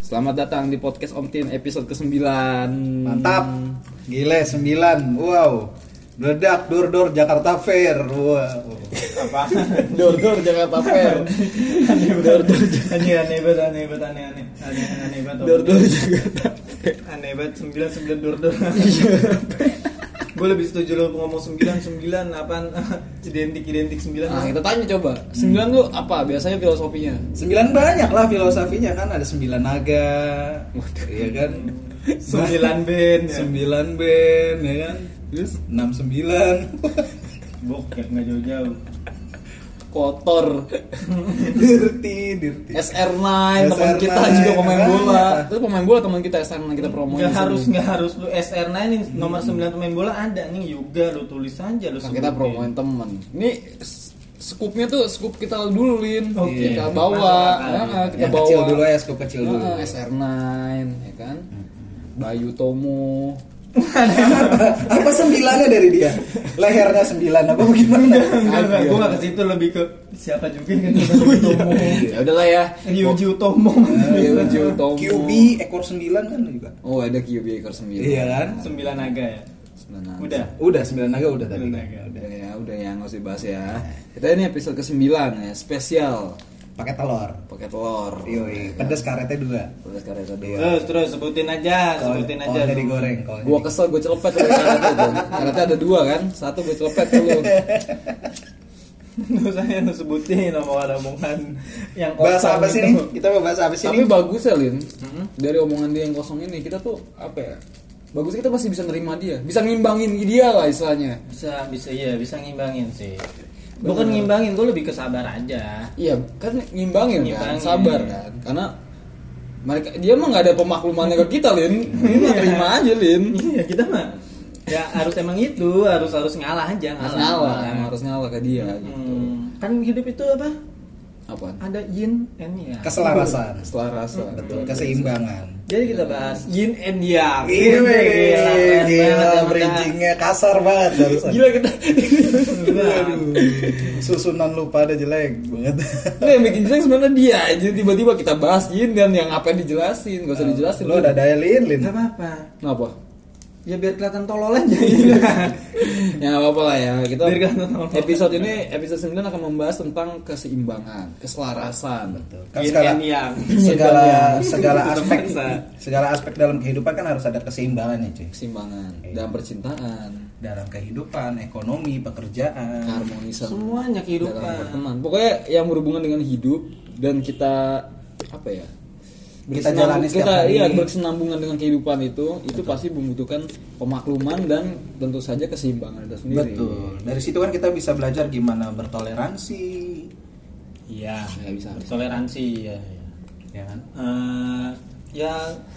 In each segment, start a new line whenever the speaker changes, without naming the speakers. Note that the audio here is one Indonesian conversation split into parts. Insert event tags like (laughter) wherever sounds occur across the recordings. Selamat datang di podcast Om Tin episode ke-9
Mantap. Gile 9. Wow. Meledak Durdor Jakarta Fair. Wow. Apa?
Dor-dor Jakarta
(laughs)
Fair
aneh banget anjir aneh banget aneh banget aneh aneh aneh aneh banget
Dor-dor Jakarta
aneh banget sembilan sembilan dor dor gue lebih setuju lo ngomong sembilan sembilan apaan identik identik sembilan
Nah kita tanya coba 9 lu apa biasanya filosofinya?
9 banyak lah filosofinya kan ada 9 naga. Iya kan?
sembilan band ya.
9 band ya kan? Terus 69.
bokep nggak jauh jauh
Kotor
dirty, dirty.
SR9 teman
SR9,
kita juga pemain bola
iya.
Itu pemain bola teman kita SR9 kita promoin
nggak
di sini.
harus nggak harus lu SR9 yang nomor 9 pemain bola ada nih Yoga lu tulis aja lu
Nah, kita
sebutin.
promoin temen Ini s- scoopnya tuh scoop kita dulu Lin
Oke.
Kita bawa
Masuk akal.
Nah, Kita
Yang
bawa
kecil dulu ya, skup kecil dulu. Hmm.
Nah, SR9 ya kan Bayu Tomo
Kan, ya, apa sembilannya dari dia? Lehernya 9 apa bagaimana?
Enggak, enggak, gue gak ke situ lebih ke siapa juga yang ketemu
(laughs)
Tomo
ya udahlah ya
Ryuji Utomo Iya,
Ryuji Utomo
QB ekor 9 kan juga.
oh ada QB ekor 9
Iya kan?
Sembilan naga ya
Sembilan.
Udah
Udah 9 naga udah tadi.
Sembilan naga
udah ya udah ya nggak usah dibahas ya kita ini episode ke 9 ya spesial
Pakai telur.
pakai telur
Yoi, pedas karetnya dua.
terus karya dua
Terus terus sebutin aja,
Iya. Kalau
Nah, sebutin aja.
dari
(laughs)
goreng kalau
gua kesel gua celepet tuh karate itu karate ada dua kan satu gua celepet
(laughs)
dulu
Lu saya lu sebutin omongan-omongan yang
Bahasa
kosong gitu.
apa sih
itu.
nih? Kita mau bahas apa sih
gitu. tapi
nih?
bagus ya Lin
Mm-hmm.
dari omongan dia yang kosong ini kita tuh apa ya bagus kita masih bisa nerima dia bisa ngimbangin dia lah istilahnya
Bisa bisa iya, bisa ngimbangin sih. Bukan ngimbangin, gue lebih ke sabar aja.
Iya, kan ngimbangin, kan,
Ngimbangin.
sabar kan. Karena mereka dia mah nggak ada pemaklumannya ke kita,
(laughs)
Lin. Ini mah terima aja, Lin.
Iya, kita mah ya harus emang itu, harus harus ngalah aja,
Harus
ngalah.
ngalah, emang harus ngalah ke
iya,
dia gitu.
Iya. Hmm, kan hidup itu apa?
Apa?
Ada yin and yang.
Keselarasan,
Setelah rasa.
betul, keseimbangan.
Jadi kita bahas yin and yang.
Gila,
keren banget,
gila,
emang.
bridgingnya kasar banget. barusan.
Gila kita. (laughs)
Aduh, susunan lu pada jelek banget.
Nah, yang bikin jelek sebenarnya dia aja tiba-tiba kita bahas Yin dan yang apa yang dijelasin, gak usah
Eh,
dijelasin.
Lu udah daelin, Lin.
Gak apa-apa.
Kenapa? (laughs)
Ya biar kelihatan tolol aja (laughs)
Ya nggak apa-apa lah ya. Kita
Biar nggak nonton.
episode ini episode 9 akan membahas tentang keseimbangan, keselarasan. Betul.
Kan segala
yang
segala segala aspek
Terpaksa.
segala aspek dalam kehidupan kan harus ada keseimbangan ya, cuy.
Keseimbangan
Iya.
dalam percintaan.
Dalam kehidupan, ekonomi, pekerjaan.
keharmonisan
Semuanya kehidupan.
dalam berteman pokoknya yang berhubungan dengan hidup dan kita apa ya
Kita
bersenambung-
jalani setiap
kita
hari.
iya berkesinambungan dengan kehidupan itu itu pasti membutuhkan pemakluman dan tentu saja keseimbangan itu sendiri
Betul. Dari situ kan kita bisa belajar gimana bertoleransi,
Iya,
Nggak bisa.
Toleransi ya. ya.
ya kan?
Eh, ya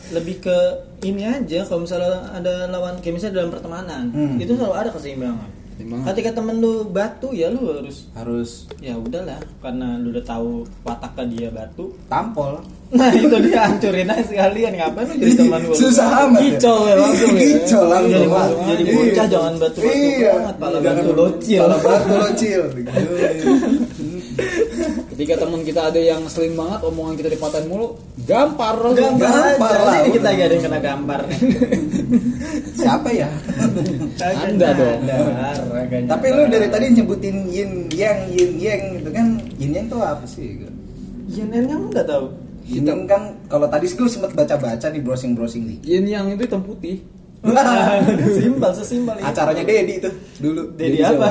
lebih ke ini aja kalau misalnya ada lawan kayak misalnya dalam pertemanan
Hmm.
itu selalu ada keseimbangan.
Keseimbangan.
Ketika temen lu batu ya lu harus
Harus
ya udahlah karena lu udah tahu wataknya dia batu. (laughs)
tampol.
Nah itu dia hancurin aja sekalian ngapain lu jadi teman gua?
Susah amat. ya.
Kicol ya langsung ya.
Kicol langsung.
Jadi-
Wah,
jadi
iya.
bocah jangan batu-batu
Iya.
banget, pala
Jangan
batu locil.
Pala batu locil.
ketika teman kita ada yang seling banget omongan kita dipatahin mulu gampar
Gampar,
Gampar
aja.
lah,
Ini kita
bener.
gak ada yang kena gampar
Siapa
(laughs)
ya?
Anda dong.
Tapi lu dari tadi nyebutin yin yang yin yang gitu kan. Yin yang tuh apa sih?
Yin and yang udah tau
Yin yang kan kalau tadi gue sempet baca-baca di browsing-browsing
(laughs)
nih.
yin yang itu hitam putih
Nah. Simpel, sesimpel itu.
Acaranya Dedi tuh dulu.
ya. Dedi
Dedi
apa?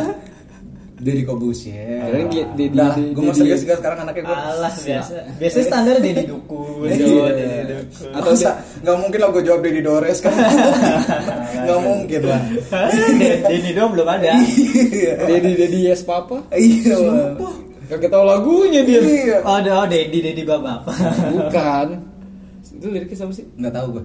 Dedi Kobusyer.
Kirain dia- Dedi-
Udah lah,
Dedi-
gue mau
Dedi-
serius-serius sekarang anaknya gue.
Alah biasa Biasa standar Dedi Dukun
Iya.
Jawa Dedi Dukun
Atau
Atau
dia-
nggak mungkin lah gue jawab Dedi Dores kan? Nggak mungkin
iya.
lah.
Dedi doang belum ada
Iya.
dedi dedi yes papa
Iya.
kagak tahu lagunya
(laughs)
dia
Iya.
Oh ada oh, Dedi Dedi Bapak
bukan itu liriknya sama sih
Nggak tahu gue.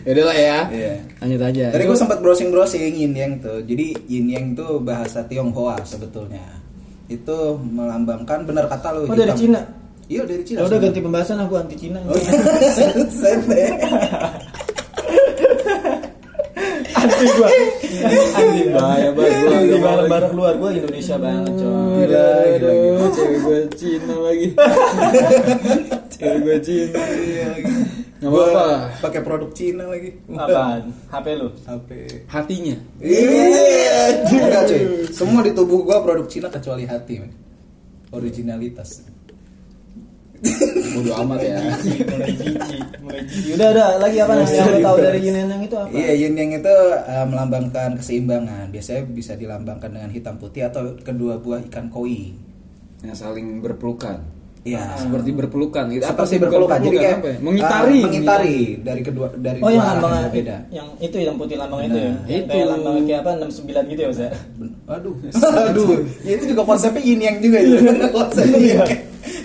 Yaudah lah ya
Iya.
lanjut aja
Tadi
Itu-
gue sempat browsing-browsing Yin Yang tuh. Jadi Yin Yang tuh bahasa Tionghoa sebetulnya. Itu melambangkan benar kata lu.
Oh, dari
hitam.
Cina?
Iya dari Cina.
Ya udah
(laughs)
ganti pembahasan aku anti Cina
Oh, Sete.
Anti gua Anti gua
Bahaya banget gua.
Di barang-barang luar gua Iya, Indonesia banget coy
Gila, gila, gila. Cewek gue Cina lagi Dari gue Cina. Nggak
Iya, gitu. Gua
apa-apa.
Pakai produk Cina lagi.
Apaan? HP lu?
HP.
Hatinya.
Iya, enggak cuy. Semua di tubuh gua produk Cina kecuali hati, men. Originalitas.
Bodoh amat ya.
mulai jijik, mulai jijik. Udah, udah, lagi apa nih yang lu tahu dari yin and yang itu apa?
Iya, yin yang itu eh, melambangkan keseimbangan. Biasanya bisa dilambangkan dengan hitam putih atau kedua buah ikan koi.
Yang saling berpelukan.
Iya.
Ah, Seperti berpelukan gitu. Apa
seperti
sih bukan
berpelukan jadi kayak
apa ya? mengitari, iya,
ah, mengitari dari kedua dari
Oh,
dua
yang
arah
lambang
yang berbeda
yang itu yang putih lambang itu ya.
Nah,
Yang
itu.
Kayak lambang kayak apa 69 gitu ya, Mas. ya?
Ben- (laughs) aduh aduh ya, itu juga konsepnya yin yang juga itu (laughs) konsepnya yin yang.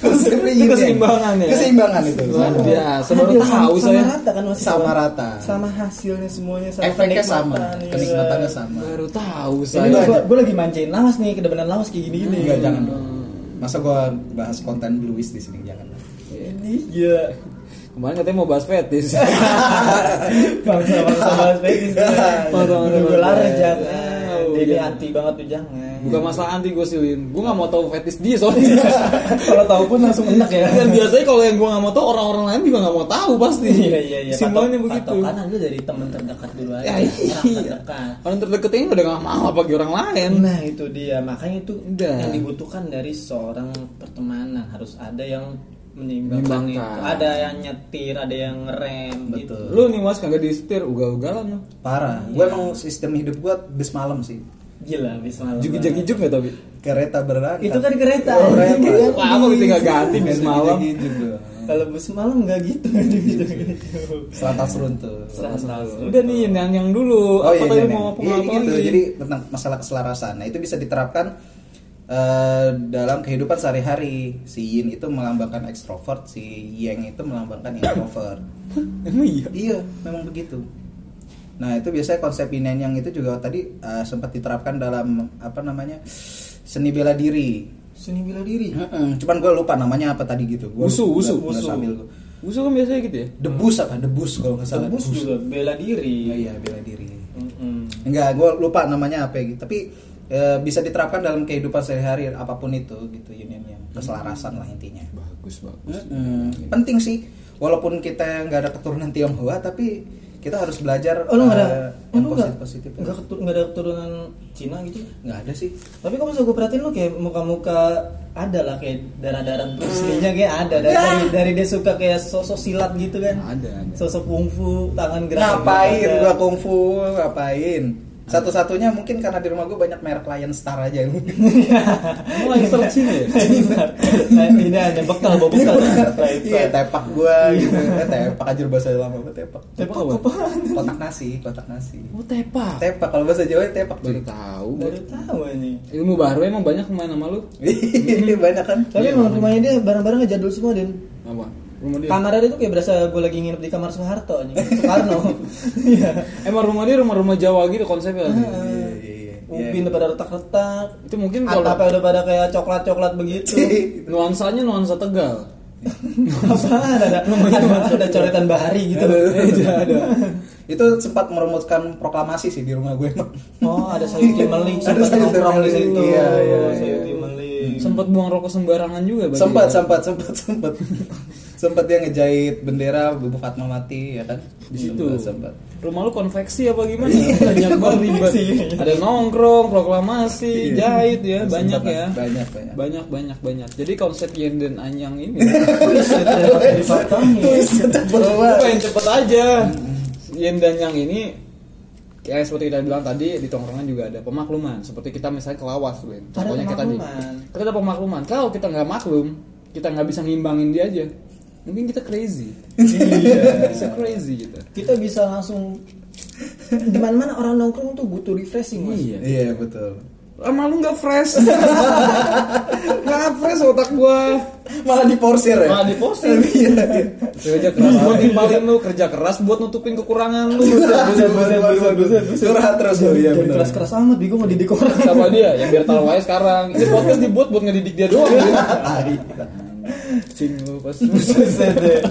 konsepnya
Iya. Itu
yin yang.
keseimbangan ya?
keseimbangan itu
Luar biasa, baru
Hasil sama-
tahu
sama
saya.
rata kan Mas?
Sama rata.
Sama hasilnya semuanya sama.
efeknya sama
kenikmatan,
kenikmatannya
iya.
sama
Baru tahu
Ini
saya.
gua, gua lagi manjain lawas nih, kedemenan lawas kayak gini-gini.
enggak Iya, jangan dong masa gua bahas konten blues di sini jangan
Ini gila.
Kemarin katanya mau bahas
(laughs)
fetis.
Bangsa bangsa bahas fetis.
Bangsa-bangsa
Gue lari
bahas
jangan.
fetis.
Ini
Iya.
anti banget tuh jangan.
Bukan masalah anti gue silin. Gue nggak mau tahu fetis dia soalnya.
(laughs) Kalau tahu pun langsung enak ya.
Dan biasanya kalau yang gue nggak mau tahu orang-orang lain juga nggak mau tahu pasti.
Iya iya iya.
Simpelnya
Patok-
begitu.
Patokan lu dari teman terdekat dulu aja.
Ya,
Orang
iya.
terdekat.
Orang terdekat ini udah nggak mau apalagi orang lain.
Nah itu dia makanya itu
Udah.
yang dibutuhkan dari seorang pertemanan harus ada yang menimbangkan
Menimbangkan.
itu. Ada yang nyetir, ada yang ngerem gitu.
betul
Lu nih mas kagak disetir ugal-ugalan lu.
parah
iya.
gua emang sistem hidup gua bis malam sih
Gila bisa malam.
Jugi-jagi-juk nggak tapi?
kereta berangkat
Itu kan kereta.
Oh, kereta.
Iya.
Wah, apa lu tinggal ganti bis
Ganti-ganti
malam?
gitu.
Kalau bus malam nggak gitu.
Selatan seruntuh
Udah nih yang yang dulu.
Oh
apa
iya,
tadi
iya,
mau
iya.
apa
Iya,
apa
gitu.
lagi?
Jadi tentang masalah keselarasan. Nah, itu bisa diterapkan eh, dalam kehidupan sehari-hari. Si Yin itu melambangkan ekstrovert, si Yang itu melambangkan introvert.
Emang iya.
iya, memang begitu. Nah, itu biasanya konsep Yin dan Yang itu juga tadi eh, sempat diterapkan dalam apa namanya? seni bela diri.
Seni bela diri.
Mm-mm, Cuman gue lupa namanya apa tadi gitu. Gua
Wusu,
udah-
wusu,
udah
wusu.
sambil gua.
Usul kan biasanya gitu ya.
Debus apa? Debus kalau nggak salah.
Bus juga bela diri.
Iya, iya, bela diri.
Hmm.
Mm-mm.
Enggak, gue lupa namanya apa gitu. Tapi eh, bisa diterapkan dalam kehidupan sehari-hari apapun itu gitu union yang keselarasan lah intinya.
Bagus bagus.
Mm-mm. Penting sih, walaupun kita nggak ada keturunan Tionghoa, tapi kita harus belajar
Oh lu nggak ada?
eh,
Oh,
yang
lu nggak?
positif positif.
Nggak ketur- nggak ada keturunan Cina gitu?
Nggak ada sih.
Tapi kalau misalnya gue perhatiin lo kayak muka-muka ada lah kayak darah-darah Bruce
Hmm.
Lee-nya kayak ada dari, dari, dari dia suka kayak sosok silat gitu kan.
Ada, ada.
Sosok kungfu, tangan gerak.
Ngapain gua
(laughs)
kungfu? Ngapain? Satu-satunya mungkin karena di rumah gue banyak merek Lion Star aja lu.
Lu
Iya.
lagi searching
(laughs)
ya?
nah, ini hanya bekal bawa bekal. Nah,
Iya, tepak gua gitu. Eh, tepak aja bahasa lama banget tepak.
Iya. Tepak
apa?
apaan?
Kotak nasi, kotak nasi.
Oh tepak.
Tepak kalau bahasa Jawa tepak
Baru
cuy.
tahu. gua.
Baru tahu ini.
Iya,
Ilmu baru emang banyak main sama lu.
Ini (laughs) banyak kan?
Tapi emang rumahnya dia barang-barangnya jadul semua dan
Apa? Rumah
Iya.
dia.
kamarnya dia tuh kayak berasa gue lagi nginep di kamar Soeharto
(laughs)
anjing. Soekarno. Iya.
Emang rumah dia rumah-rumah Jawa gitu konsepnya.
Iya, iya, iya.
Ubin udah pada retak-retak.
Itu mungkin kalau
Atapnya udah pada kayak coklat-coklat begitu.
Iya.
Gitu. nuansanya nuansa Tegal.
(laughs) Apaan ada ada, ada coretan bahari gitu.
Iya. ada. Itu sempat merumuskan proklamasi sih di rumah gue emang.
Oh, ada Sayuti Melik
Ada
sempat
Sayuti
nongkrong di
Melik, iya,
situ.
Oh,
iya, iya.
Sayuti Melik.
Sempat buang rokok sembarangan juga berarti
Sempat,
ya?
sempat, sempat, sempat. sempat dia ngejahit bendera Ibu Fatma mati ya kan?
di situ.
Sempat. Iya. sempat.
Rumah lu konveksi apa gimana? banyak banget
(laughs)
ribet.
konveksi.
Ada nongkrong, proklamasi, jahit ya,
Iya. Sempat,
banyak
Pak.
ya.
Banyak, banyak.
Banyak banyak banyak. Jadi konsep yin dan anyang ini
(laughs)
gue pengen cepet aja. Yin dan yang ini kayak seperti kita bilang tadi di tongkrongan juga ada pemakluman. Seperti kita misalnya kelawas, Win.
Ada
Contohnya kita di
pemakluman.
kita ada pemakluman. Kalau kita nggak maklum, kita nggak bisa ngimbangin dia aja. Mungkin kita crazy. Iya, bisa crazy gitu.
Kita bisa langsung di mana-mana orang nongkrong tuh butuh refreshing, Mas.
Iya.
Iya, betul.
Lama lu nggak
(laughs)
fresh. Nggak fresh otak gua.
Malah diporsir ya.
Malah diporsir.
Iya. iya.
Kerja keras buat nimpalin lu, kerja keras buat nutupin kekurangan lu.
Buset, buset, buset, buset, buset. Curhat terus oh, iya
Jadi
benar.
keras-keras amat bingung mau didik orang.
Sama dia, yang biar tahu aja sekarang. Ini podcast dibuat buat ngedidik dia doang.
Tai.
Cing lu
(laughs)
pas.
(laughs) Buset deh.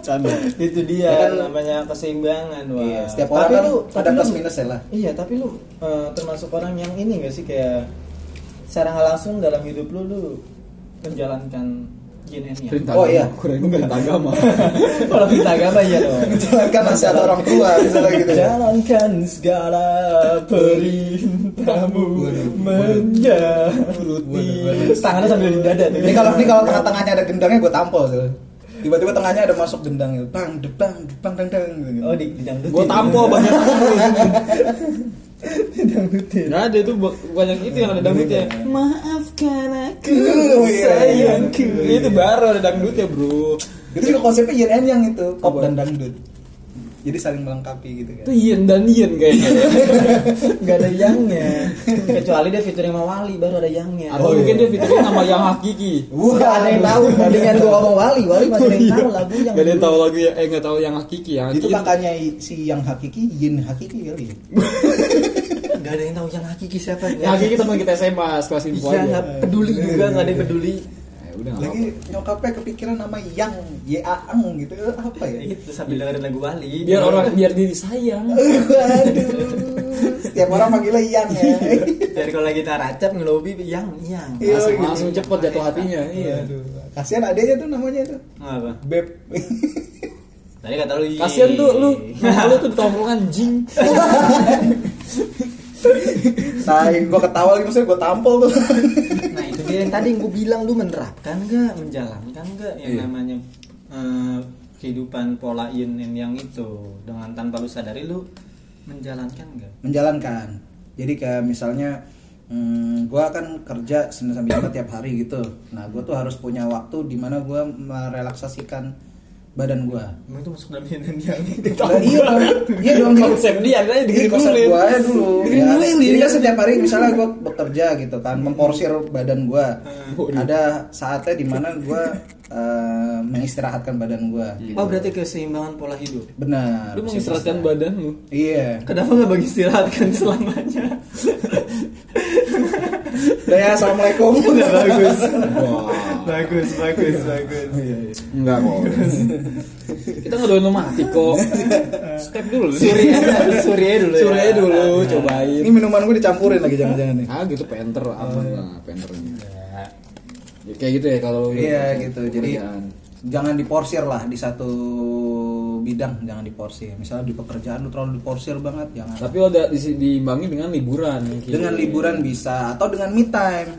Canda.
Itu dia
Ya kan?
namanya keseimbangan, wah.
Iya, setiap
Tapi
orang kan
lu-
ada
tapi
plus
lu-
minusnya lah.
Iya, tapi lu eh, termasuk orang yang ini gak sih kayak secara nggak langsung dalam hidup lu lu menjalankan Yin and Yang.
Perintah
Oh,
agama.
iya.
Kirain lu perintah agama.
(laughs) Kalau kita agama ya dong.
Menjalankan nasihat Kan orang
(laughs)
tua misalnya gitu ya.
Jalankan segala perintahmu menjadi tangannya sambil di dada tuh.
Ini kalau ini kalau tengah-tengahnya ada gendangnya gue tampol tuh. Tiba-tiba tengahnya ada masuk gendang gitu. Bang, debang, debang, dang, dang. gitu.
oh di dangdutin.
Gua tampol banyak
(laughs)
dangdutin.
Nggak ada itu bu- banyak itu yang ada dangdutnya.
Maafkan aku
Oh, iya, iya.
sayangku.
Itu baru ada dangdutnya, Bro.
Itu juga konsepnya yin and yang itu, pop dan dangdut. Jadi saling melengkapi gitu kan.
Itu yin dan yin
(laughs)
kayaknya.
Gak ada yangnya. Kecuali dia featuring sama Wali baru ada yangnya.
Atau
Oh, iya.
mungkin dia fiturnya nama yang hakiki.
Wah,
Gak ada yang tahu mendingan gua ngomong Wali, Wali
Oh,
masih
iya.
ada yang tahu lagu yang
Gak ada yang tahu lagu ya, eh nggak tahu yang hakiki yang
Itu
hakiki.
makanya si yang hakiki, yin hakiki kali ya.
Iya. Gak ada yang tahu yang hakiki siapa
Yang hakiki teman kita SMA kelas info
Ya
aja.
nggak peduli
Iya,
juga nggak ada yang peduli.
Eh, udah nggak apa-apa.
Lagi nyokapnya kepikiran nama yang, y a ang gitu. Apa ya?
Itu sambil dengerin lagu Wali.
Biar Iya, orang biar diri sayang.
Waduh. Setiap orang manggilnya yang ya.
(laughs) Jadi kalau lagi taracap ngelobi yang yang.
Iya,
Langsung,
gitu.
langsung cepet jatuh hatinya. Iya.
Aduh. Kasihan adanya tuh namanya tuh.
Apa?
Beb.
Tadi kata lu. iya.
Kasian tuh
(laughs)
lu, nama lu tuh di tongkrongan jing.
Say, gua ketawa lagi maksudnya gua tampol tuh.
Nah itu dia yang tadi yang gue bilang lu menerapkan nggak, menjalankan nggak yang
Iya.
namanya eh, kehidupan pola yin and yang itu dengan tanpa lu sadari lu menjalankan nggak?
Menjalankan. Jadi kayak misalnya hmm, gua kan kerja Senin sampai Jumat tiap hari gitu. Nah, gua tuh harus punya waktu di mana gua merelaksasikan badan gua.
Emang itu masuk dalam yin and yang
Nah, iya dong. Iya dong. jadi-
Konsep dia katanya
Ini
digini
konsep
konsep
gua Eh, aja dulu
Dengerin
ya.
dulu, Lin.
Jadi kan setiap hari misalnya gua bekerja gitu kan Memporsir badan gua
Waduh.
Ada saatnya dimana gua eh, mengistirahatkan badan gua gitu.
Oh berarti keseimbangan pola hidup.
Benar
Lu mengistirahatkan badan lu.
Iya
Kenapa nggak bagi istirahatkan selamanya? (laughs)
Udah ya (laughs) Assalamualaikum
Udah bagus. Iya,
Wah.
bagus, bagus, bagus.
Enggak kok. Kita ngedoain lu mati
(laughs)
kok.
Iya.
Step dulu.
Suri aja, suri aja dulu. ya.
Sore dulu
Ini
cobain.
minuman gua dicampurin lagi jangan-jangan nih
Ah gitu penter
Iya.
aman lah penternya. Ya, kayak gitu ya kalau lu-
Iya gitu Jadi
pekerjaan.
jangan diporsir lah di satu bidang jangan diporsir misalnya di pekerjaan lu terlalu diporsir banget jangan
tapi lo ada disi- diimbangi dengan liburan mungkin.
dengan liburan bisa atau dengan me time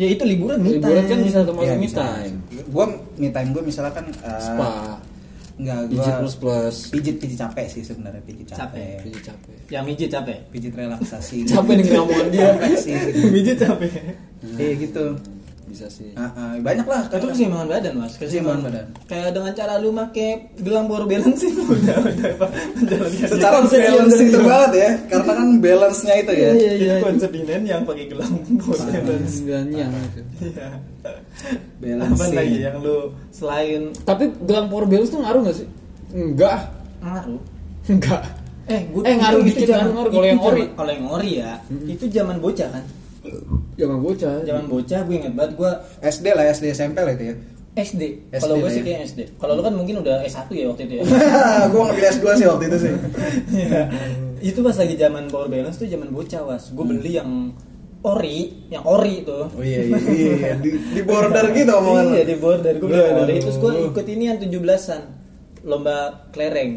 Ya itu liburan me
liburan
time.
kan bisa termasuk
Iya,
me
bisa.
time.
Gua me time gue misalkan eh,
Spa,
Enggak, gua
pijit plus plus,
pijit pijit capek sih sebenarnya pijit capek.
Capek.
pijit capek.
Yang mijit Ya, capek. (laughs)
Pijit relaksasi.
Capek dengan omongan dia.
Capek sih.
mijit capek.
Iya gitu.
Bisa sih.
Ah, ah, banyak lah
Itu
kadang
keseimbangan badan mas.
Keseimbangan badan.
Kayak dengan cara lu make gelang power balance itu (laughs) ya? udah udah pak. Menjalankan.
secara
konsep yang
balance
dari
itu
gua.
banget ya karena kan balance-nya itu ya.
Iya iya. Konsep inen yang pakai gelang power balance.
Dan yang itu.
Iya.
Balance.
Apa lagi yang lu selain
Tapi gelang power balance tuh ngaruh gak sih? Enggak.
ngaruh?
Enggak.
Eh, gua
Eh, ngaruh
itu
dikit,
zaman-
ngaruh, ngaruh. Kalau
itu
yang ori.
zaman- Kalau yang ori ya, itu zaman bocah kan.
Jangan bocah.
Zaman bocah gue inget banget gue
SD lah SD SMP lah itu ya. (laughs)
SD.
SD
Kalau gue
lah
sih
ya.
kayak SD. Kalau lu kan mungkin udah S1 ya waktu
(laughs)
itu ya.
gua ngambil S2 sih waktu itu sih.
Iya. itu pas lagi zaman power balance tuh zaman bocah was. Gue beli yang ori, yang ori tuh.
Oh iya iya iya, iya. Di, di border gitu omongan.
Iya di border gue beli yang
Aduh.
ori. Terus gue ikut ini yang 17-an lomba kelereng.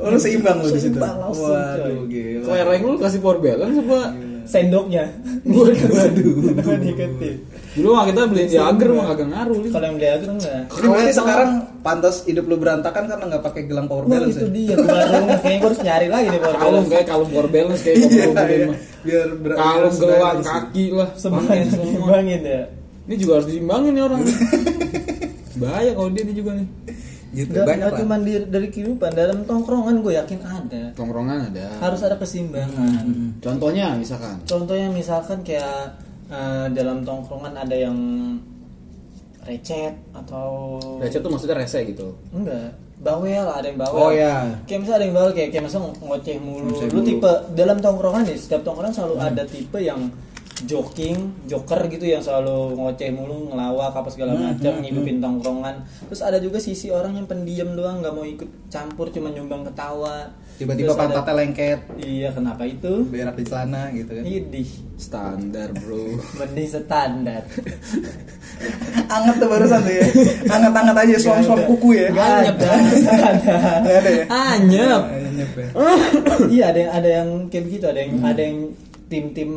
Oh, lu seimbang lu di situ.
Iya, Seimbang langsung, coy.
Waduh, gila.
Kelereng lu kasih power balance apa?
Sendoknya.
Waduh.
(laughs) Gue diketik.
Dulu mah kita beliin Jager mah kagak ngaruh. Lin.
Kalau yang dia itu enggak.
Ini berarti sekarang pantas hidup lu berantakan karena nggak pakai gelang power
Nah,
balance.
itu
ya?
dia gue baru kayaknya gue harus nyari lagi nih power
Kalung
balance.
kayak kalung power balance kayak
Iya,
kalau gua beliin
iya.
mah.
Biar ber-
Kalung gelang
biar
kan?
sebenarnya sih.
kaki lah.
Semangat
Pakai semua.
seimbangin ya.
Ini juga harus diimbangin nih orang. Bahaya kalau dia nih juga nih.
Gitu,
Gak,
banyak
gak
lah.
cuma di- dari kehidupan, dalam tongkrongan gue yakin ada.
Tongkrongan ada.
Harus ada keseimbangan.
Hmm. Contohnya misalkan.
Contohnya misalkan kayak eh, dalam tongkrongan ada yang recet atau
Receh tuh maksudnya rese gitu.
enggak bawel ada yang bawel
Oh, iya.
kayak misalnya ada yang bawel kayak kayak masa ngoceh mulu
Ngoceh
lu
mulu. Hmm.
tipe dalam tongkrongan nih setiap tongkrongan selalu ada tipe yang joking, joker gitu yang selalu ngoceh mulu, ngelawak apa segala
Hmm,
macam,
hmm,
ngidupin tongkrongan. Terus ada juga sisi orang yang pendiam doang, nggak mau ikut campur, cuma nyumbang ketawa.
tiba-tiba
Terus ada-
pantatnya lengket
Iya, kenapa itu?
berak di celana gitu kan
Idih,
standar bro
mending standar.
(laughs) anget tuh barusan tuh ya anget-anget aja suam-suam
Nggak ada.
kuku ya
Nggak ada. Nggak ada.
Nggak ada ya
anyep
Anyep ya.
iya ada yang ada yang kayak begitu ada yang
Hmm.
ada yang tim-tim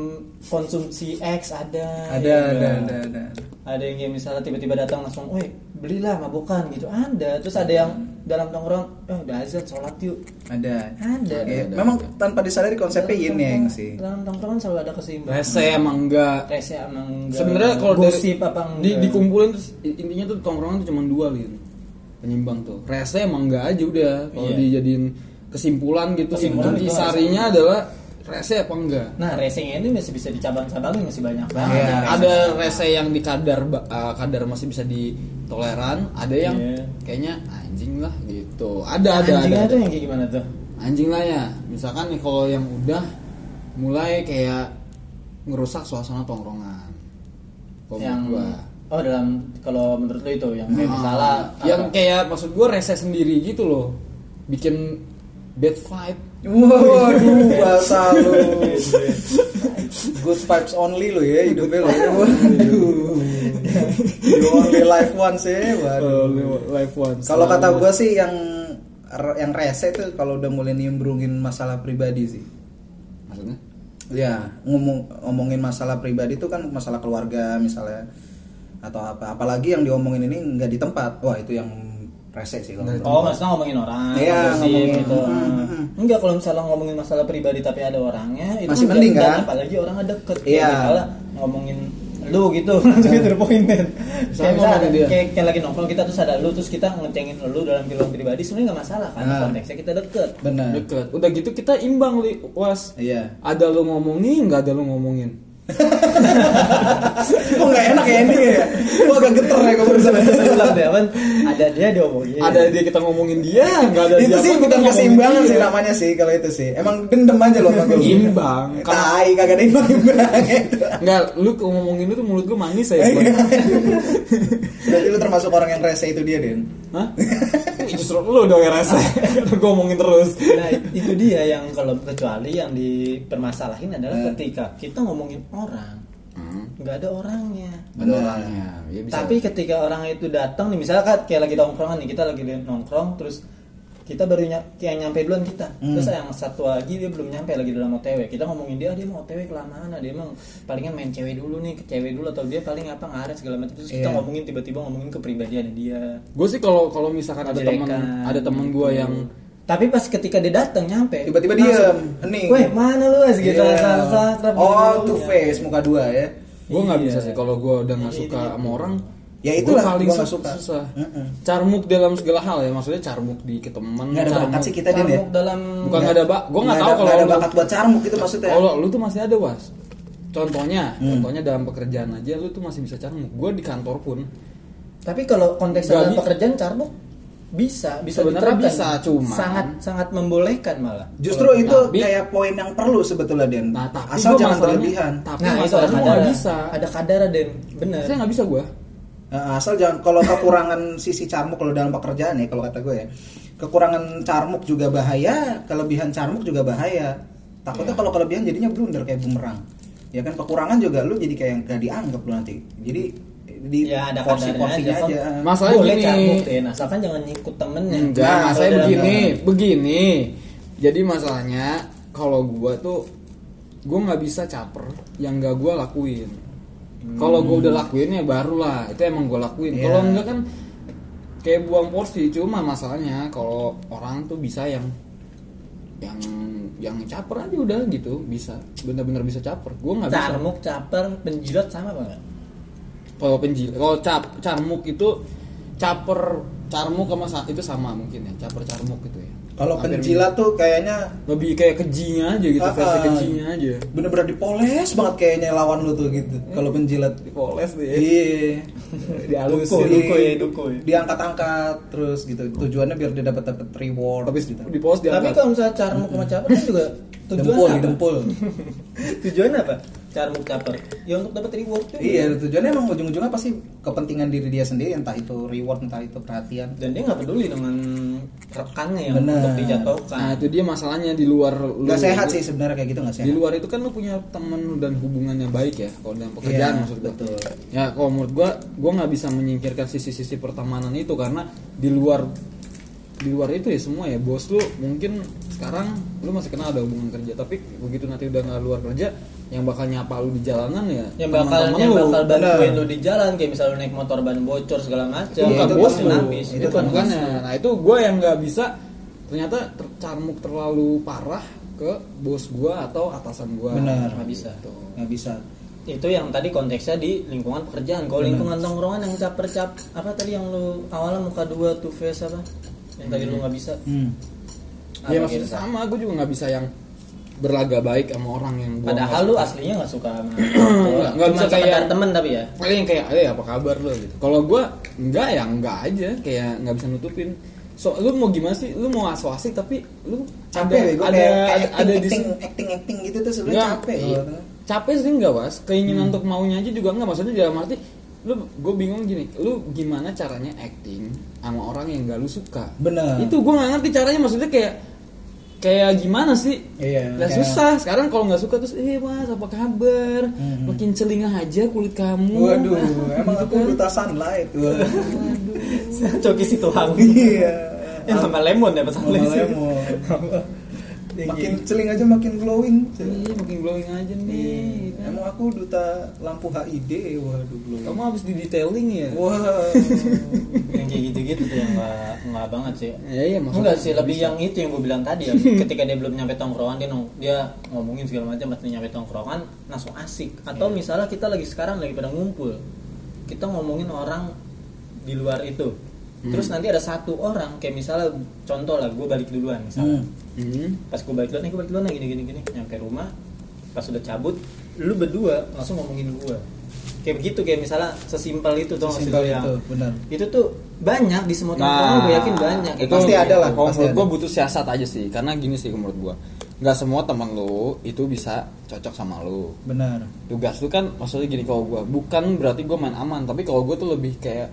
konsumsi X ada
ada
iya.
ya
ada
kan?
ada ada
ada yang kayak misalnya tiba-tiba datang langsung, weh belilah mabukan gitu ada terus ada yang
Hmm.
dalam tongkrong, eh udah azan sholat yuk
ada
ada
Ya,
ada,
memang
ada.
tanpa disadari konsepnya
Dalam
yin
tongkrong-
yang sih
dalam tongkrongan selalu ada keseimbangan
rese emang enggak
rese emang enggak
sebenarnya kalau dari-
gosip apa enggak
di, dikumpulin terus i- intinya tuh tongkrongan tuh cuma dua gitu penyimbang tuh rese emang enggak aja udah kalau
Iya.
dijadiin kesimpulan gitu
Kesimpulan
inti
itu rese.
sarinya adalah rese apa enggak
nah racing ini masih bisa dicabang-cabangin masih
Nah,
banyak banget
Iya.
yang rese.
ada rese yang di kadar ba- uh, kadar masih bisa ditoleran ada yang
Iya.
kayaknya anjing lah gitu ada ada
anjingnya
ada,
tuh yang kayak gimana tuh
anjing lah ya misalkan nih kalau yang udah mulai kayak ngerusak suasana tongkrongan Kalau
yang
menurut gua.
oh dalam kalau menurut lo itu yang kayak
Ah,
misalnya
yang
apa?
kayak maksud gue rese sendiri gitu loh bikin bad vibe
(laughs) Waduh, bahasa lu. Good vibes only lu ya hidupnya lu. Waduh. You only life once ya, waduh.
life one
Kalau kata gua sih yang yang rese tuh kalau udah mulai nimbrungin masalah pribadi sih.
maksudnya
Ya, ngomong ngomongin masalah pribadi itu kan masalah keluarga misalnya atau apa. Apalagi yang diomongin ini nggak di tempat. Wah, itu yang rese sih kalau.
Oh, maksudnya ngomongin orang,
Iya,
gosip
ngomongin.
gitu.
Hmm, hmm.
Enggak kalau misalnya ngomongin masalah pribadi tapi ada orangnya, itu
Masih
enggak,
mending,
enggak,
kan?
Apalagi orangnya deket.
Iya.
Kayak Misalnya ngomongin lu gitu, (laughs) langsung gitu poin men. Kayak
ngomongin
misalnya ada-
dia.
kayak, kayak lagi nongkrong kita terus ada lu terus kita ngecengin lu dalam kehidupan pribadi sebenarnya enggak masalah kan
Nah.
konteksnya kita deket.
Benar.
deket udah gitu kita imbang li was
Iya.
ada lo ngomongin nggak ada lo ngomongin
Kok nggak enak ya ini ya? Gue agak geter ya gue barusan.
Terus bilang Dewan, ada dia diomongin.
ada dia kita ngomongin dia nggak ada
itu
dia pun
sih bukan
kita ngomongin
keseimbangan
dia.
sih namanya sih kalau itu sih. Emang dendam aja loh sama gue.
Imbang.
Tai kagak ada imbang imbang.
nggak lu ke- ngomongin itu mulut lu manis aja Bang.
Berarti lu termasuk orang yang rese itu dia Den.
Hah? Justru lu dong yang rese (laughs) Gue ngomongin terus
Nah, itu dia yang kalau kecuali yang dipermasalahin adalah
Nah.
ketika kita ngomongin orang,
Hmm.
enggak ada orangnya.
Ada orangnya ya bisa.
Tapi ketika orang itu datang nih misalnya kan kayak lagi nongkrongan nih kita lagi nongkrong terus kita baru ny- yang nyampe duluan kita
Hmm.
terus yang satu lagi dia belum nyampe lagi dalam OTW kita ngomongin dia "Ah, dia mau OTW kelamaan ah, dia emang palingan main cewek dulu nih ke cewek dulu atau dia paling apa ngaret segala macam terus kita
Iya.
ngomongin tiba-tiba ngomongin kepribadian dia
Gue sih kalau kalau misalkan ada teman
Jelekan,
ada teman
gitu.
gue yang
tapi pas ketika dia datang nyampe
Tiba-tiba diem,
langsung,
hening.
weh mana lu as gitu
Iya.
asal-asal, kerap
Oh,
gitu.
two face muka dua ya.
gue nggak
Iya.
bisa sih kalau gue udah nggak
Iya,
suka
iya.
sama orang
Ya
gua
itulah,
paling
gua nggak
sus-
suka.
susah
Mm-mm.
carmuk dalam segala hal ya maksudnya carmuk di ke teman
Nggak ada
carmuk-
bakat sih kita Den ya.
Carmuk dalam
bukan nggak ada bak gue nggak tahu
ada-
kalau
nggak ada
lu-
bakat buat carmuk itu maksudnya.
kalau lu tuh masih ada was contohnya
Hmm.
contohnya dalam pekerjaan aja lu tuh masih bisa carmuk gue di kantor pun
Tapi kalau konteks
Nggak
dalam
bisa.
pekerjaan carbuk bisa, bisa
Sebenarnya
diterapkan.
bisa, cuman-
sangat sangat membolehkan malah.
Justru itu
Tapi-
kayak poin yang perlu sebetulnya Den.
nah tapi
Asal
gua
jangan
masalahnya-
berlebihan.
tapi
nah, itu ada
masalahnya gua
kadara,
nggak bisa
ada kadara dan
Iya.
bener.
saya nggak bisa gue
Nah, asal jangan kalau kekurangan (laughs) sisi carmuk kalau dalam pekerjaan ya kalau kata gue ya. Kekurangan carmuk juga bahaya, kelebihan carmuk juga bahaya. Takutnya
Iya.
kalau kelebihan jadinya blunder kayak bumerang. Ya kan kekurangan juga lu jadi kayak yang gak dianggap lu nanti. Jadi di
Ya ada
porsi-porsinya
kadarnya aja.
aja.
Kan
Masalahnya
boleh
gini.
carbuk deh, nah, asalkan jangan ngikut temennya.
Enggak,
Nah,
saya
saudara.
begini, begini. Jadi masalahnya kalau gua tuh gua nggak bisa caper yang nggak gua lakuin. Kalau gua udah lakuin ya barulah itu emang gua lakuin.
Hmm. Iya.
Kalau enggak kan kayak buang porsi. Cuma masalahnya kalau orang tuh bisa yang yang yang caper aja udah gitu bisa bener-bener bisa caper gua nggak bisa
Carmuk, caper, penjilat sama apa enggak?
kalau penjil kalau cap carmuk itu caper carmuk sama sa- itu sama mungkin ya caper carmuk gitu ya
Kalau
Hampir
penjilat tuh kayaknya
lebih kayak kejinya aja gitu
Ah,
versi
ah.
kejinya aja
bener-bener dipoles banget kayaknya lawan lu tuh gitu. Kalau
Hmm.
penjilat
dipoles
Iya.
Dihalusin.
Di-
Duko ya, duko ya.
Diangkat-angkat terus gitu. Tujuannya biar dia dapat dapat reward
tapi
gitu.
Oh. di post
Tapi
diangkat (laughs)
kalau misalnya carmuk sama caper kan juga Tujuan
dempul,
apa?
didempul.
(laughs) Tujuan apa? Carmuk caper. Ya untuk dapat reward juga.
iya, tujuannya emang ujung-ujungnya pasti kepentingan diri dia sendiri, entah itu reward, entah itu perhatian.
Dan dia nggak peduli dengan rekannya yang
Bener.
untuk dijatuhkan.
Nah, itu dia masalahnya di luar lu-
Gak sehat sih sebenarnya kayak gitu gak sehat.
Di luar itu kan lu punya temen dan hubungannya baik ya, kalau dalam pekerjaan
Iya,
maksud gua.
betul.
Ya, kalau menurut gua, gua nggak bisa menyingkirkan sisi-sisi pertemanan itu karena di luar di luar itu ya semua ya bos lu mungkin sekarang lu masih kenal ada hubungan kerja tapi begitu nanti udah nggak luar kerja yang bakal nyapa lu di jalanan ya
yang bakal
teman-teman
yang
lu.
bakal bantuin
bener.
lu di jalan kayak misalnya lu naik motor ban bocor segala macam
itu
Iya,
bukan
itu
bos
kan
lu
habis.
itu
Itu
kan
kan
bukan ya. nah itu gue yang nggak bisa ternyata ter- carmuk terlalu parah ke bos gue atau atasan Gitu. gue
Bener.
nggak bisa
Gak bisa.
itu yang tadi konteksnya di lingkungan pekerjaan kalau lingkungan tongkrongan yang caper cap apa tadi yang lu awalnya muka dua two face apa yang tadi lu nggak bisa
Hmm.
ya
Iya,
Apa
maksudnya
gitu?
sama gue juga nggak bisa yang berlaga baik sama orang yang gua
padahal lu
nggak
aslinya nggak suka sama
(clears throat) Nggak, nggak
cuma
bisa kayak-
sekedar temen tapi
(laughs)
ya
suka. paling kayak eh apa kabar lu gitu kalau gue nggak ya nggak aja kayak nggak bisa nutupin so lu mau gimana sih lu mau asuasi tapi lu
Capek
ada
gue
ada
kayak, kayak
ada, ada di
acting, acting, acting, acting gitu tuh sebenarnya
Nggak,
capek.
iya.
gua. Hmm.
capek sih enggak was keinginan untuk maunya aja juga enggak maksudnya dalam arti lu gue bingung gini lu gimana caranya acting sama orang yang gak lu suka
Bener.
itu gue nggak ngerti caranya maksudnya kayak kayak gimana sih
Iya,
Lah,
kayak-
susah sekarang kalau nggak suka terus eh mas apa kabar
Mhm.
makin celingah aja kulit kamu (laughs)
Waduh,
Ah,
emang
gitu
aku
kan.
buta sunlight.
(laughs)
Waduh.
coki si tuang
Iya.
yang sama lemon ya pesan
Sama
lu
(laughs)
sih.
lemon.
makin
Iya.
Makin celing aja makin glowing.
Ih, makin glowing aja nih gitu kan.
Iya, Emang aku duta lampu HID, waduh glowing.
kamu habis di detailing ya (laughs)
Wow.
yang kayak gitu-gitu tuh yang nggak nggak banget sih
ya iya maksudnya
Enggak sih, lebih yang itu yang gue bilang
(laughs)
tadi ya. Ketika dia belum nyampe tongkrongan dia nong- dia ngomongin segala macam pas dia nyampe tongkrongan langsung asik.
Iya.
Atau misalnya kita lagi sekarang lagi pada ngumpul. Kita ngomongin orang di luar itu.
Hmm.
Terus nanti ada satu orang kayak misalnya contoh lah gue balik duluan misalnya.
Hmm.
Hmm.
Pas gue balik duluan, nih gue balik duluan nih, gini gini gini nyampe rumah pas udah cabut lu berdua langsung ngomongin gue kayak begitu kayak misalnya sesimpel itu tuh
Sesimpel itu, benar. Nah,
itu tuh banyak di semua tongkrongan gue yakin banyak
Nah,
Iya.
itu
Pasti ada lah,
Kalau
pasti
menurut
ada.
gue butuh siasat aja sih, karena gini sih menurut gue, nggak semua teman lu itu bisa cocok sama lu.
Benar.
Tugas lu kan maksudnya gini kalau gue, bukan berarti gue main aman, tapi kalau gue tuh lebih kayak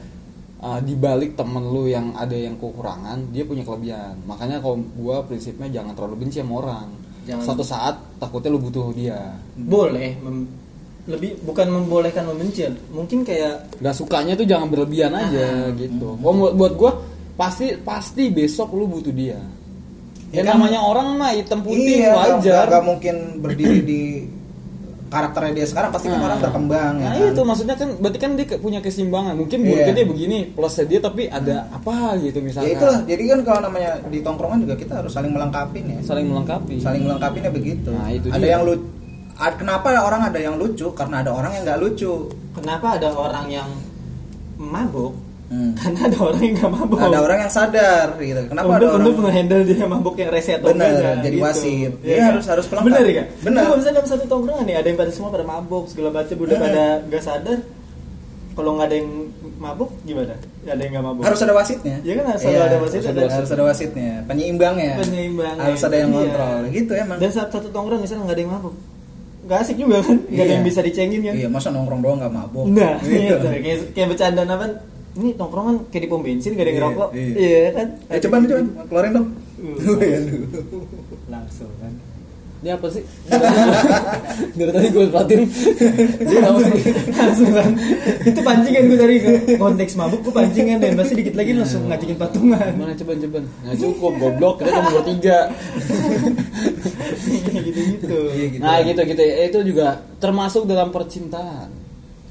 uh, di balik temen lu yang ada yang kekurangan, dia punya kelebihan. Makanya kalau gue prinsipnya jangan terlalu benci sama orang.
Jangan.
Satu saat takutnya lu butuh dia,
boleh mem- lebih bukan membolehkan membenci mungkin kayak
nggak sukanya tuh jangan berlebihan
Ah,
aja gitu. Kalau buat buat gue pasti pasti besok lu butuh dia. Ya,
Ya kan-
namanya orang mah hitam putih
iya, nggak-
wajar.
nggak- nggak mungkin berdiri di karakternya dia sekarang pasti kan orang berkembang
nah
ya kan?
itu maksudnya kan berarti kan dia ke- punya keseimbangan mungkin
Iya.
buruknya dia begini plusnya dia tapi ada apa gitu
ya
misalnya
itulah jadi kan kalau namanya di tongkrongan juga kita harus saling melengkapi ya
saling melengkapi
saling melengkapinya begitu
Nah, itu
ada
dia.
yang lucu kenapa orang ada yang lucu karena ada orang yang nggak lucu
kenapa ada orang yang mabuk (laughs)
Hmm.
karena ada orang yang gak mabuk
ada orang yang sadar gitu kenapa
untuk,
ada orang
untuk menghandle dia mabuk yang rese atau
Bener,
enggak,
jadi wasit.
Iya
Dia
kan?
harus- harus pelengkap.
bener ya
Bener.
kalau misalnya dalam satu tongkrongan nih ada yang pada semua pada mabuk segala macam udah
Hmm.
pada gak sadar kalau nggak ada yang mabuk gimana ada yang gak mabuk
harus ada wasitnya
Iya kan, harus ada- ada wasit,
harus
ada
ada,
wasit.
harus ada wasitnya penyeimbangnya
Penyeimbangnya,
harus ada yang
iya.
kontrol gitu emang
dan saat satu tongkrongan misalnya nggak ada yang mabuk nggak asik juga kan nggak ada
Iya.
yang bisa dicengin kan
iya masa nongkrong doang nggak mabok
Nah,
(laughs) Gitu.
iya. kayak, kayak bercandaan apa? Ini tongkrongan kayak di pom bensin gak
Iya,
ada yang ngerokok.
iya.
Iya kan?
Eh,
(laughs)
coba nih coba keluarin dong. (laughs) Iya,
Uh.
Waduh.
Langsung kan.
dia apa sih dari tadi gue perhatiin dia tahu sih
Langsung kan. Itu pancingan gue dari konteks mabuk gue pancingan dan pasti dikit lagi
Iya.
langsung ngajakin patungan.
mana
(laughs)
ceban ceban nggak cukup goblok kita cuma bertiga
gitu-gitu.
Iya, gitu.
nah gitu gitu ya. itu juga termasuk dalam percintaan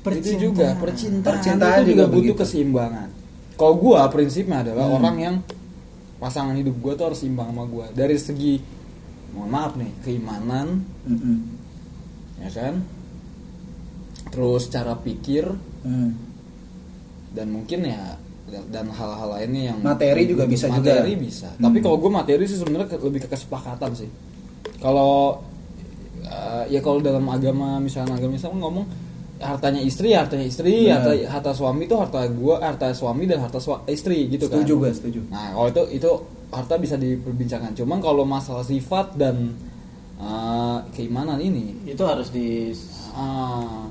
Percintaan.
itu juga percintaan,
Percintaan
itu juga,
juga
butuh
begitu.
keseimbangan kalau gua prinsipnya adalah
Hmm.
orang yang pasangan hidup gua tuh harus seimbang sama gua dari segi mohon maaf nih keimanan
Mm-mm.
ya kan terus cara pikir
Mm.
dan mungkin ya dan hal-hal lainnya yang
Materi juga bisa juga. ya? Hmm.
materi bisa tapi kalau gue materi sih sebenarnya ke- lebih ke kesepakatan sih kalau eh, ya kalau dalam agama misalnya agama Islam kan ngomong hartanya istri ya hartanya istri
Benar.
harta, harta suami itu harta gua harta suami dan harta sua- istri gitu kan
Setuju gue, setuju.
Nah, kalau itu itu harta bisa diperbincangkan. Cuman kalau masalah sifat dan eh, eh, keimanan ini
itu harus di
Ah,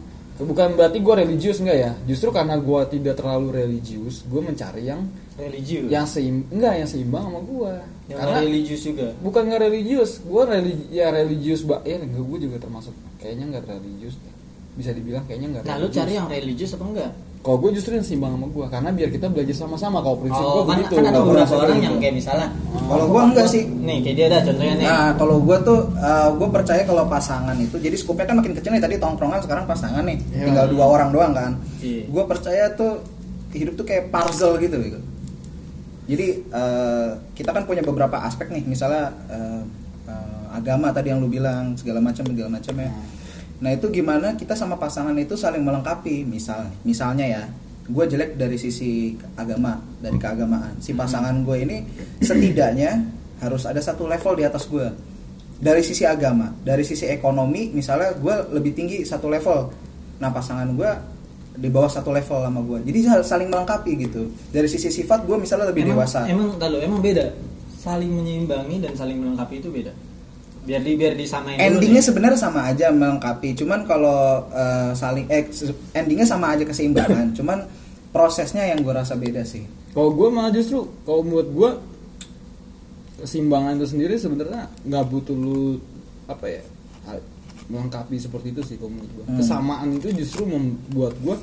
bukan berarti gue religius enggak ya? Justru karena gue tidak terlalu religius, gue mencari yang
religius
yang seim enggak yang seimbang sama gue.
yang
Karena
religius juga
bukan nggak religius, gue religi ya religius ba ya gue juga termasuk kayaknya nggak religius deh. bisa dibilang kayaknya nggak.
nah lu cari yang religius apa enggak
Kalau gue justru yang seimbang sama gue, karena biar kita belajar sama-sama. Kalau prinsip gue
kan,
begitu.
kan ada
Gua
beberapa
merasa
orang
gitu.
yang kayak misalnya
Kalau gua enggak sih.
nih kayak dia ada contohnya nih
Nah, kalau gua tuh eh, gua percaya kalau pasangan itu jadi skupnya kan makin kecil nih tadi tongkrongan sekarang pasangan nih.
Iya.
Tinggal dua orang doang kan.
Iya.
Gua percaya tuh hidup tuh kayak puzzle gitu gitu. Jadi eh, kita kan punya beberapa aspek nih, misalnya eh, eh, agama tadi yang lu bilang segala macam segala macam ya. Nah, itu gimana kita sama pasangan itu saling melengkapi, misal misalnya ya. Gue jelek dari sisi agama, dari keagamaan. Si pasangan gue ini setidaknya harus ada satu level di atas gue. Dari sisi agama, dari sisi ekonomi, misalnya gue lebih tinggi satu level. Nah, pasangan gue di bawah satu level sama gue jadi sal- saling melengkapi gitu dari sisi sifat gue misalnya lebih
emang,
dewasa
emang entar lu, emang beda saling menyeimbangi dan saling melengkapi itu beda biar di biar disamain dulu
endingnya
nih.
sebenarnya sama aja melengkapi cuman kalau eh, saling eh, se- endingnya sama aja
(coughs)
keseimbangan cuman prosesnya yang gue rasa beda sih
Kalau gue malah justru, kalau menurut gue keseimbangan itu sendiri sebenarnya nggak butuh lu apa ya ha- melengkapi seperti itu sih kalau menurut gue.
Hmm.
Kesamaan itu justru membuat gue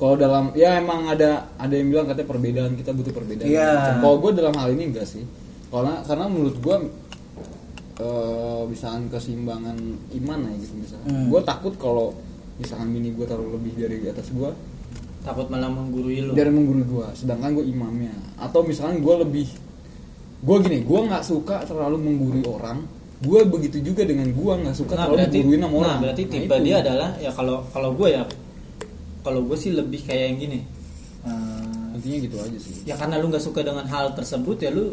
kalau dalam ya emang ada ada yang bilang katanya perbedaan kita butuh perbedaan.
Iya.
Kalau gue dalam hal ini enggak sih. Karena karena menurut gue eh misalkan keseimbangan iman ya gitu misalnya.
Hmm.
Gue takut kalau misalkan mini gue taruh lebih dari di atas gue,
takut malah menggurui lu
dari menggurui gua sedangkan gue imamnya atau misalkan gua lebih gua gini gua nggak suka terlalu menggurui orang gua begitu juga dengan gua nggak suka
nah,
terlalu
berarti
menggurui sama
nah,
orang
berarti tipe
itu.
dia adalah ya kalau kalau gue ya kalau gue sih lebih kayak yang gini Eh,
intinya gitu aja sih
ya karena lu nggak suka dengan hal tersebut ya lu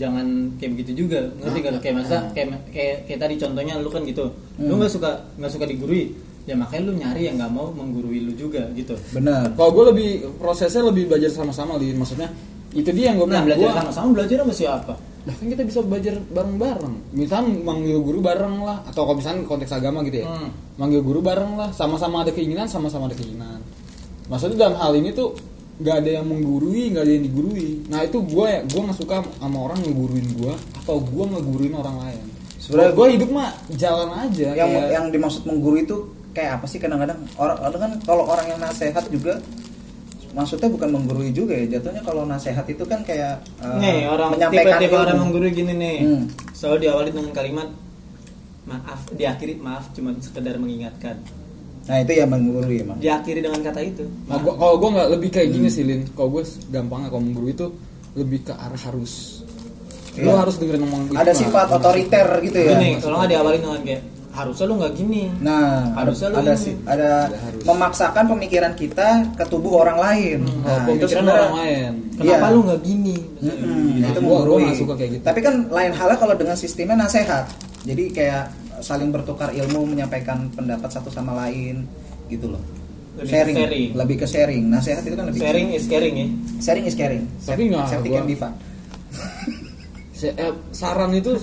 jangan kayak begitu juga ngerti gak lu? kayak masa
Nah.
kayak, kayak kayak tadi contohnya lu kan gitu lu
Hmm.
nggak suka nggak suka digurui ya makanya lu nyari yang nggak mau menggurui lu juga gitu
bener
kalau gua lebih prosesnya lebih belajar sama-sama Lin maksudnya itu dia yang gua
nah
bilang
belajar
gua-
sama-sama belajar sama siapa
Nah, kan kita bisa belajar bareng-bareng. Misal manggil guru bareng lah atau kalau misalnya konteks agama gitu ya.
Hmm.
Manggil guru bareng lah, sama-sama ada keinginan, sama-sama ada keinginan. Maksudnya dalam hal ini tuh nggak ada yang menggurui, nggak ada yang digurui. Nah, itu gua ya, gua nggak suka sama orang ngeguruin gua atau gua ngeguruin orang lain. Sebenarnya
Sebenarnya
gua hidup mah jalan aja
yang
Iya.
kayak-
yang dimaksud menggurui itu kayak apa sih kadang-kadang orang orang kan kalau orang yang nasehat juga maksudnya bukan menggurui juga ya jatuhnya kalau nasehat itu kan kayak eh,
nih orang
menyampaikan
tipe-tipe
ilmu.
orang menggurui gini nih
Hmm.
selalu diawali dengan kalimat maaf diakhiri maaf cuma sekedar mengingatkan
nah itu ya menggurui emang
diakhiri dengan kata itu
Nah, gua, kalau gue nggak lebih kayak
Hmm.
gini sih, Lin. Kalau gue gampangnya kalau menggurui itu lebih ke arah harus. Lu
Iya.
harus dengerin omongan
ada
gua.
sifat otoriter gitu ya
gitu, gini kalau nggak diawali dengan kayak harusnya lu nggak gini
Nah,
Harusnya
ada,
lu
ada
ini.
si- ada
Ada harus.
memaksakan pemikiran kita ke tubuh orang lain.
Hmm.
Nah,
Kalau pemikiran
sebenarnya-
orang lain.
kenapa
Iya.
lu nggak gini
Mm-mm,
Nah,
itu
gua- gua
menggurui.
nggak suka kayak gitu.
Tapi kan lain halnya kalau dengan sistemnya nasehat. Jadi kayak saling bertukar ilmu, menyampaikan pendapat satu sama lain gitu loh.
Lebih ke sharing.
lebih ke sharing. Nasehat itu kan lebih
sharing is caring ya (laughs)
sharing is caring.
Tapi nggak,
Septic
gua-
and Diva. (laughs)
Se- eh, saran itu aduh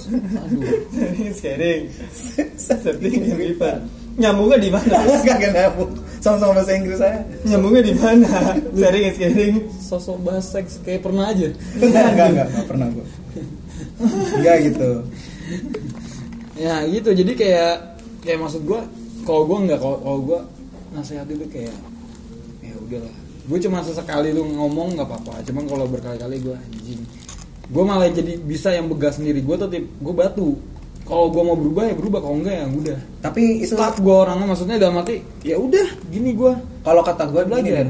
sharing is caring Something in river. nyambungnya di
(laughs)
mana
Enggak kenapa. Sama-sama bahasa Inggris saya. (laughs)
nyambungnya di mana sharing is caring
sosok bahas seks kayak pernah aja
Enggak, enggak, enggak, enggak pernah gua. Enggak gitu.
ya gitu jadi kayak kayak maksud gua kalau gua nggak kalau kalau gua nasihat itu kayak ya udahlah gue cuma sesekali lu ngomong nggak apa-apa cuman kalau berkali-kali gua anjing gue malah jadi bisa yang begas sendiri gua tuh tip gue batu kalau gua mau berubah ya berubah kalau enggak ya udah
Tapi itu
start gua orangnya maksudnya dalam mati ya udah gini gua
kalau kata gue gini
Belajar.
Den,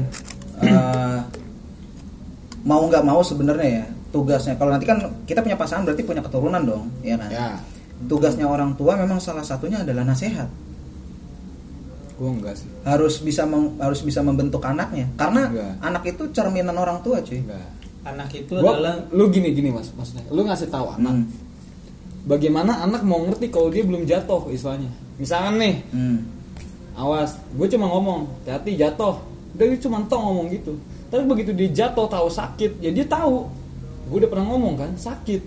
eh, mau nggak mau sebenarnya ya tugasnya kalau nanti kan kita punya pasangan berarti punya keturunan dong ya kan
ya
tugasnya orang tua memang salah satunya adalah nasehat
gua enggak sih
harus bisa meng- harus bisa membentuk anaknya karena
Enggak.
anak itu cerminan orang tua cuy
enggak
anak itu
Gua-
adalah
lu gini gini mas maksudnya lu ngasih tahu anak
Hmm.
bagaimana anak mau ngerti kalau dia belum jatuh istilahnya misalkan nih
Hmm.
awas gue cuma ngomong hati jatuh udah dia cuma tau ngomong gitu tapi begitu dia jatuh tahu sakit ya dia tahu gue udah pernah ngomong kan sakit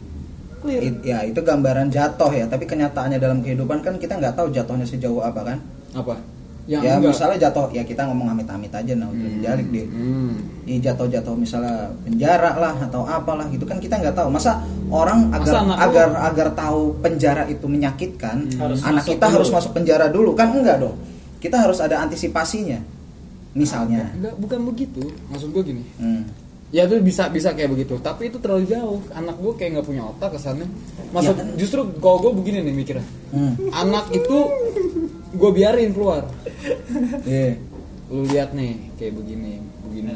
clear
It- ya itu gambaran jatuh ya tapi kenyataannya dalam kehidupan kan kita nggak tahu jatuhnya sejauh apa kan
apa
ya,
yang enggak
misalnya jatuh ya kita ngomong amit-amit aja nah udah jalik deh
Hmm.
Ya, jatuh-jatuh misalnya penjara lah atau apalah gitu kan kita nggak tahu masa orang
Masa
agar
anak lu-
agar agar tahu penjara itu menyakitkan
Hmm. Harus
anak
masuk
kita harus
dulu.
masuk penjara dulu kan enggak dong kita harus ada antisipasinya misalnya
enggak bukan begitu maksud gue gini
Ah,
Hmm.
ya itu bisa bisa kayak begitu tapi itu terlalu jauh anak gue kayak nggak punya otak kesannya maksud
Ya kan?
justru kalau gue begini nih mikirnya
Hmm.
anak itu gue biarin keluar
Iya.
lu lihat nih kayak begini begini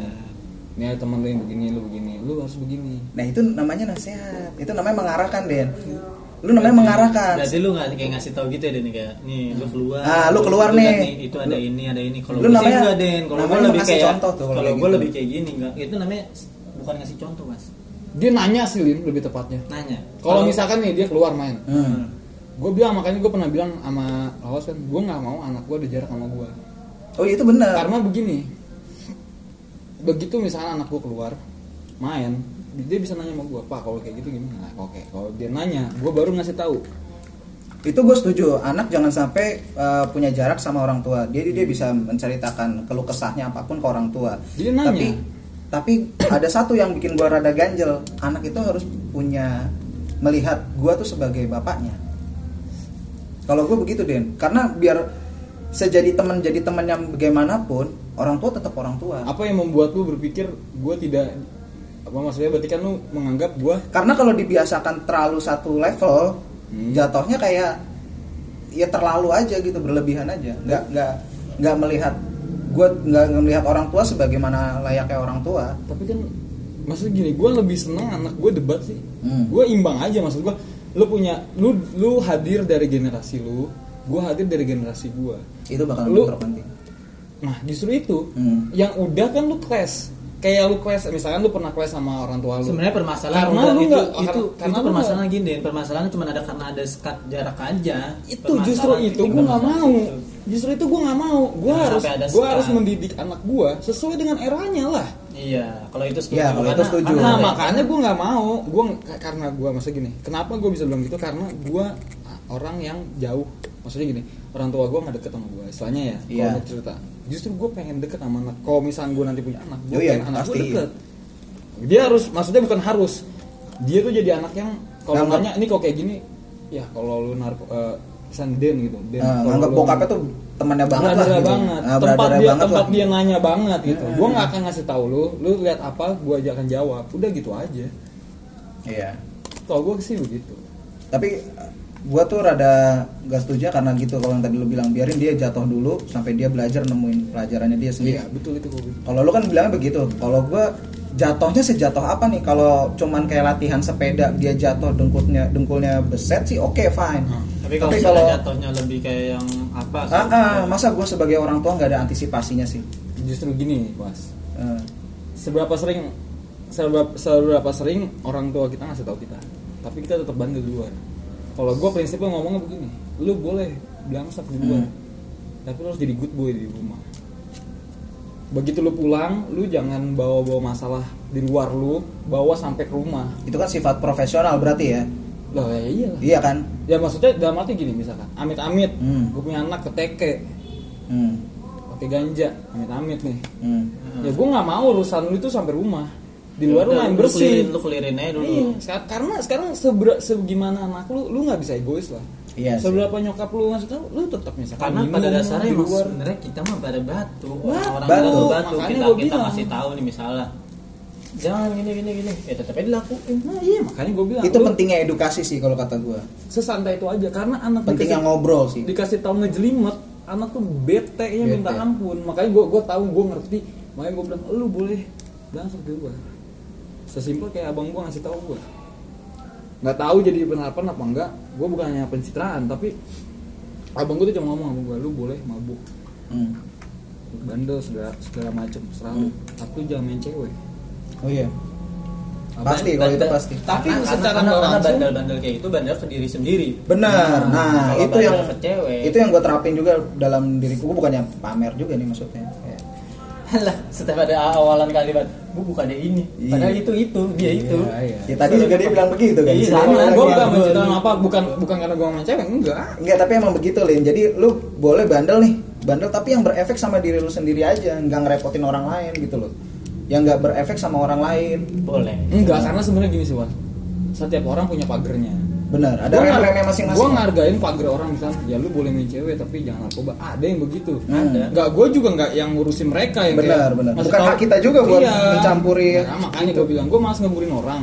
ini ada temen lu yang begini lu begini lu harus begini
nah itu namanya nasihat itu namanya mengarahkan Den lu namanya mengarahkan
Berarti lu nggak kayak ngasih tau gitu ya Den kayak nih lu keluar.
Ah, lu keluar nih.
Itu ada ini ada ini. Kalau
Lu
gue sih
namanya-
nggak, Den, kalau
namanya
gue
lu
lebih
ngasih
kayak
contoh tuh kalau
kalau
kayak
gue
gitu.
lebih kayak gini nggak. Itu namanya s- bukan ngasih contoh mas.
dia nanya sih Lin, lebih tepatnya
Nanya.
kalau misalkan nih dia keluar main
Hmm.
gue bilang makanya gue pernah bilang sama Lawas kan gue nggak mau anak gue ada jarak sama gue
oh itu benar
karena begini begitu misalnya anak gue keluar main dia bisa nanya sama gue pak kalau kayak gitu gimana Nah, oke kalau dia nanya gue baru ngasih tahu
itu gue setuju anak jangan sampai uh, punya jarak sama orang tua dia dia bisa menceritakan keluh kesahnya apapun ke orang tua
Jadi nanya.
tapi tapi ada satu yang bikin gue rada ganjel anak itu harus punya melihat gue tuh sebagai bapaknya kalau gue begitu Den karena biar sejadi teman jadi teman yang bagaimanapun orang tua tetap orang tua
apa yang membuat lu berpikir gue tidak apa maksudnya berarti kan lu menganggap gue
karena kalau dibiasakan terlalu satu level
Hmm.
jatuhnya kayak ya terlalu aja gitu berlebihan aja nggak nggak nggak melihat gue nggak nggak melihat orang tua sebagaimana layaknya orang tua
tapi kan maksudnya gini gue lebih seneng anak gue debat sih
Hmm.
gue imbang aja maksud gue lu punya lu lu hadir dari generasi lu gue hadir dari generasi gue
itu bakal
Lu-
terpenting
nah justru itu
Hmm.
yang udah kan lu clash kayak lu clash misalkan lu pernah clash sama orang tua lu
Sebenarnya permasalahan
Karena
udah
lu
itu,
nggak-
itu,
karena
itu
lu
permasalahan gini Den. Permasalahannya cuma ada karena ada sekat jarak aja.
itu justru itu gue nggak mau justru itu gue nggak mau gue
gitu. Jangan
harus
sampai ada
gue
sekat.
harus mendidik anak gue sesuai dengan eranya lah
Iya, kalau itu setuju.
Iya, kalau itu
Karena-
setuju.
karena
nah
Betul.
makanya gue nggak mau gue karena gue masa gini kenapa gue bisa bilang gitu karena gue orang yang jauh maksudnya gini orang tua gue nggak deket sama gue istilahnya ya
Iya.
kalau mau cerita justru gue pengen deket sama anak kalau misalnya gue nanti punya anak gue
Oh iya,
pengen anak gue
pasti.
deket dia harus maksudnya bukan harus dia tuh jadi anak yang kalau
Nganggap-
nanya ini kok kayak gini ya kalau lu narko eh, misalnya Den gitu Den
Eh,
kalau
nganggap
lu-
bokapnya tuh temannya banget lah
Beradaran
gitu.
banget.
Ah,
tempat
beradaran
dia
banget
tempat
lah. Hmm.
dia nanya banget gitu. Gua nggak akan ngasih tahu lu, lu lihat apa, gua aja akan jawab. Udah gitu aja.
iya
Kalau gua sih begitu.
tapi eh, gua tuh rada gak setuju karena gitu kalau yang tadi lu bilang biarin dia jatuh dulu sampai dia belajar nemuin pelajarannya dia sendiri
Iya, betul itu gua. bilang.
Kalau lu kan bilangnya begitu. Kalau gua jatuhnya sejatuh apa nih? Kalau cuman kayak latihan sepeda dia jatuh dengkulnya dengkulnya beset sih oke fine.
Hmm.
Tapi kalau misalnya jatuhnya lebih kayak yang apa? Iya.
Ah, ah, masa gue sebagai orang tua nggak ada antisipasinya sih.
Justru gini, Mas.
Eh,
Seberapa sering seberapa, seberapa sering orang tua kita ngasih tahu kita, tapi kita tetap bandel duluan. Kalau gua prinsipnya ngomongnya begini, lu boleh belangsak di luar.
Hmm.
Tapi lu harus jadi good boy di rumah. Begitu lu pulang, lu jangan bawa-bawa masalah di luar lu, bawa sampai ke rumah.
itu kan sifat profesional berarti ya.
Lah ya iyalah.
Iya kan?
Ya maksudnya dalam arti gini misalkan, amit-amit,
Hmm.
gue punya anak keteke,
Hmm,
pakai ganja, amit-amit nih.
hmm. Ya
Ya gue nggak mau urusan lu itu sampai rumah. Di luar lu main bersih.
Iya, Lu kelirin aja dulu.
Iya, seka- karena sekarang sebera, sebagaimana anak lu, lu nggak bisa egois lah.
Iya sih.
Seberapa nyokap lu maksudnya, lu tetap misalkan
Ya, Karena
minum
pada dasarnya
di
emang
luar.
sebenarnya kita mah pada batu.
Wah,
Orang-orang
batu.
batu, batu.
Makanya
Kita
gua
kita
bilang.
masih tahu nih misalnya. Jangan gini gini gini. Ya tetap aja dilakuin.
Nah, iya makanya gue bilang
Itu
lu
pentingnya edukasi sih kalau kata gue.
sesantai itu aja karena anak
Pentingnya
dikasih-
ngobrol sih.
dikasih tahu ngejelimet anak tuh bete nya
Bete.
minta ampun makanya gue gue tahu gue ngerti makanya gue bilang lu boleh langsung di luar sesimpel kayak abang gue ngasih tahu gue nggak tahu jadi penerapan apa enggak gue bukan hanya pencitraan tapi abang gue tuh cuma ngomong sama gue lu boleh mabuk
Hmm.
bandel segala segala macem serang tapi jangan main cewek
Oh iya. Pasti kalau itu
Bandel-
pasti.
Tapi
karena-
secara
karena-
nggak
karena
langsung-
bandel-bandel kayak itu bandel ke diri sendiri. (laughs)
Benar. Nah,
Hmm. kalau
itu
bandel
yang
ke cewek.
itu yang gue terapin juga dalam diriku. Gue bukannya pamer juga nih maksudnya. Ya.
Alah, setiap ada awalan kalimat, gue bukannya ini. Padahal
Iya.
itu itu, dia itu.
iya.
Ya tadi juga dia bilang begitu kan.
Iya,
Sebenarnya
sama.
orang
gue
gitu.
bukan
Iya.
mencintai apa bukan bukan karena gue sama cewek enggak
Enggak, tapi emang begitu, Lin. Jadi lu boleh bandel nih, bandel tapi yang berefek sama diri lu sendiri aja, nggak ngerepotin orang lain gitu loh. Yang nggak berefek sama orang lain.
Boleh.
enggak karena sebenarnya gini sih Wan setiap orang punya pagernya
Benar, ada
Gua ngar-
remnya masing-masing.
gua ngargain pagar orang misalnya ya lu boleh main cewek tapi jangan narkoba ada yang begitu
Hmm.
Ada.
Enggak, gue juga enggak yang ngurusin mereka yang
Benar,
kayak
benar.
ngasih Iya.
Bukan hak kita juga buat mencampuri. gitu.
Nah, makanya gue bilang, gue malas ngeburin orang.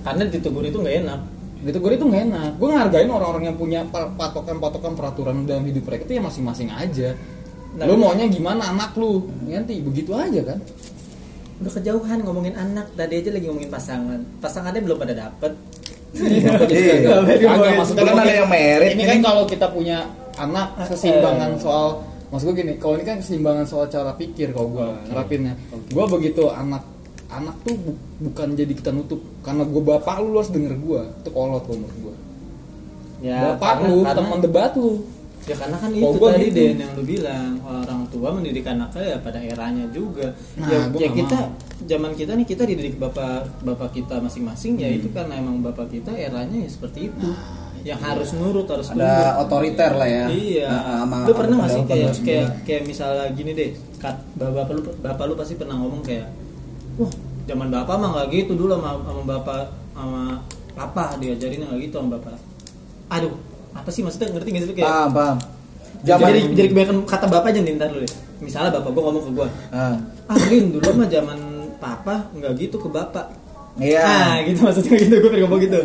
Karena ditegur itu nggak enak.
Itu gue itu nggak enak. Gue ngargain orang-orang yang punya pa- patokan-patokan peraturan dalam hidup mereka itu ya masing-masing aja.
Nah,
lu
iya.
maunya gimana anak lu? Nanti begitu aja kan.
Udah kejauhan ngomongin anak, tadi aja lagi ngomongin pasangan. Pasangannya belum pada dapet.
Iya.
Agak
Iya.
Gitu. masuk
Belum ada yang merit
Ini
ini.
kan kalau Ah, eh. kita punya anak keseimbangan soal maksud gue gini, kalau ini kan keseimbangan soal cara pikir kalau gue harapinnya. Gue begitu anak anak tuh bu- bukan jadi kita nutup karena gue bapak lu, lu harus denger gue itu kolot kalau menurut gue bapak
Ya, karena-
lu
karena-
teman debat lu
Ya karena kan
Kalau
itu
gua
tadi
gitu.
Den yang lu bilang orang tua mendidik anaknya ya pada eranya juga.
Nah,
ya,
gua
ya
nggak
kita
mau.
zaman kita nih kita dididik bapak bapak kita masing-masing ya
Hmm.
itu karena emang bapak kita eranya ya seperti itu.
Nah,
yang
iya.
harus nurut harus
Ada otoriter lah ya.
Iya.
Nah,
Ah, ah, sama-
lu pernah nggak sih
sama-
kayak
sama-
kayak kayak misalnya gini deh, kat, bapak lu bapak lu pasti pernah ngomong kayak, wah zaman bapak mah nggak gitu dulu sama, sama bapak sama papa diajarin nggak gitu sama bapak. Aduh, apa sih maksudnya ngerti nggak sih
Ah,
lu kayak?
Paham, paham.
Zaman...
Zaman
Jadi, jadi kebanyakan kata bapak aja nih ntar dulu. deh. Misalnya bapak gue ngomong ke gue,
Ah,
ah Lin dulu mah zaman papa nggak gitu ke bapak.
Iya.
Ah gitu maksudnya gitu gue pengen ngomong gitu.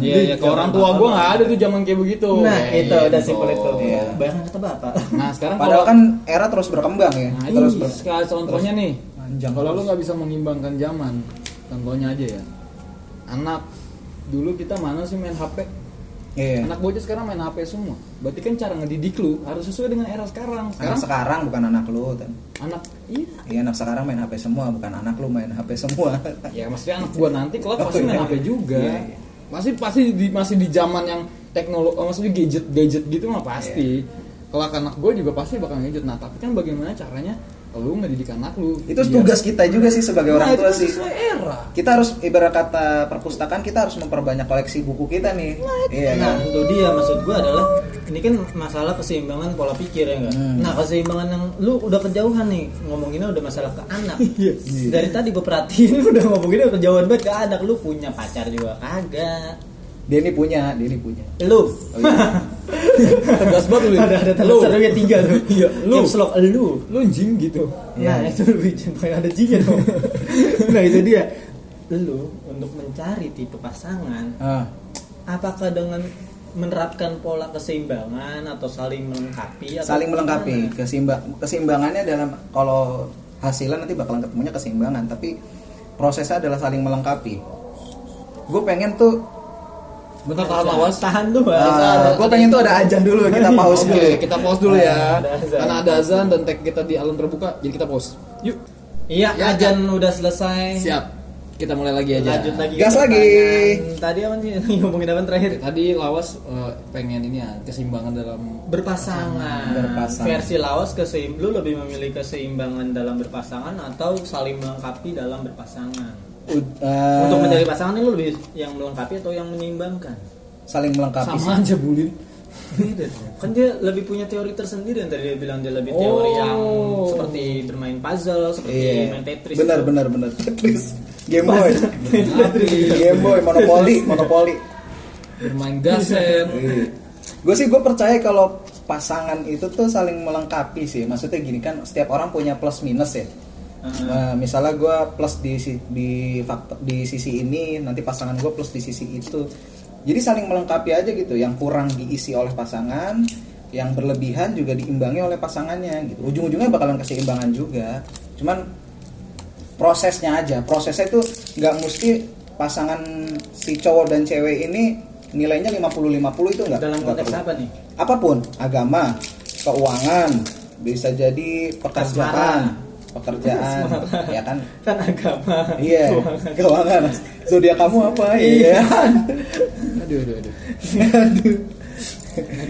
iya ya ke orang tua gue nggak ada tuh zaman kayak begitu
Nah itu
Iya,
udah
gitu.
simpel itu.
Iya.
Bayangkan kata bapak.
nah sekarang
Padahal
kalau-
kan era terus berkembang ya.
Nah,
terus
iya,
ini
ber-
sekali contohnya nih.
Panjang
kalau lu
terus.
nggak bisa mengimbangkan zaman, contohnya aja ya. Anak dulu kita mana sih main HP?
Iya.
Anak bocah sekarang main HP semua. Berarti kan cara ngedidik lu harus sesuai dengan era sekarang.
Anak
Sekarang
sekarang bukan anak lu. Tan.
anak iya.
Iya, anak sekarang main HP semua, bukan anak lu main HP semua. (laughs)
Ya maksudnya anak gua nanti kalau pasti
Oh,
main
iya.
HP juga.
Iya, iya.
Masih pasti di masih di zaman yang teknologi maksudnya gadget-gadget gitu mah pasti. Kalau anak gua juga pasti bakal gadget. Nah, tapi kan bagaimana caranya lu ngedidik anak lu?
Itu
Biar-
tugas kita juga sih sebagai
Iya. Nah, itu
orang tua
kan
sih.
sesuai era.
Kita harus ibarat kata perpustakaan kita harus memperbanyak koleksi buku kita nih. Iya kan?
Nah itu dia maksud gue adalah ini kan masalah keseimbangan pola pikir ya enggak.
Hmm.
Nah keseimbangan yang lu udah kejauhan nih ngomonginnya udah masalah ke
(laughs)
anak.
Iya.
Dari tadi gue perhatiin (laughs) udah ngomonginnya kejauhan banget ke anak. Lu punya pacar juga kagak.
Dia ini punya, dia ini punya. Oh,
Lu
iya.
tegas banget lu.
(laughs) ada ada
lu.
tanda serunya tiga
(laughs)
tuh.
Iya, lu.
Caps lock, lu.
Lu anjing gitu.
Iya.
Nah itu lebih jangan ada jingin
(laughs)
dong. nah itu dia. Lu untuk mencari tipe pasangan
Ah,
apakah dengan menerapkan pola keseimbangan atau saling melengkapi atau
saling melengkapi.
Ya, gimana?
Keseimba- keseimbangannya dalam kalau hasilnya nanti bakalan ketemunya keseimbangan, tapi prosesnya adalah saling melengkapi. Gue pengen tuh
Bentar tahan lawas.
tahan tuh bahasa
Ah, gue pengen tuh ada ajan dulu kita pause
Oke,
dulu.
kita pause dulu ya.
Ada azan.
Karena ada azan dan tag kita di alun terbuka, jadi kita pause. Yuk.
iya
Ya,
ajan udah selesai
Siap. Kita mulai lagi aja.
lanjut lagi ke
Iya, Gas
pertanyaan.
lagi.
tadi apa sih (laughs) ngomongin apa terakhir
Tadi lawas eh, pengen ini ya, keseimbangan dalam
berpasangan.
Berpasangan.
versi lawas keseim lu lebih memilih keseimbangan dalam berpasangan atau saling melengkapi dalam berpasangan
Ud- eh,
untuk mencari pasangan lu lebih yang melengkapi atau yang menyeimbangkan
saling melengkapi sih.
sama aja bulin.
kan dia lebih punya teori tersendiri yang tadi dia bilang dia lebih
Oh.
teori yang seperti bermain puzzle seperti Iya, main Tetris
Iya. Benar,
itu.
benar, benar. Tetris. Game Boy.
Tapi
Game Boy, Monopoly, Monopoly.
bermain (laughs) gasen.
gue sih gue percaya kalau pasangan itu tuh saling melengkapi sih. Maksudnya gini kan, setiap orang punya plus minus ya. Nah, misalnya gue plus di si- di faktor, di sisi ini, nanti pasangan gue plus di sisi itu. Jadi saling melengkapi aja gitu. Yang kurang diisi oleh pasangan, yang berlebihan juga diimbangi oleh pasangannya. Gitu. Ujung-ujungnya bakalan keseimbangan juga. Cuman prosesnya aja prosesnya itu nggak mesti pasangan si cowok dan cewek ini nilainya 50-50 itu nggak
dalam
nggak
konteks
perlu.
apa nih
apapun agama keuangan bisa jadi pekerjaan pekerjaan ya kan
kan agama (laughs)
iya keuangan zodiak kamu apa iya
Aduh aduh aduh.
Aduh.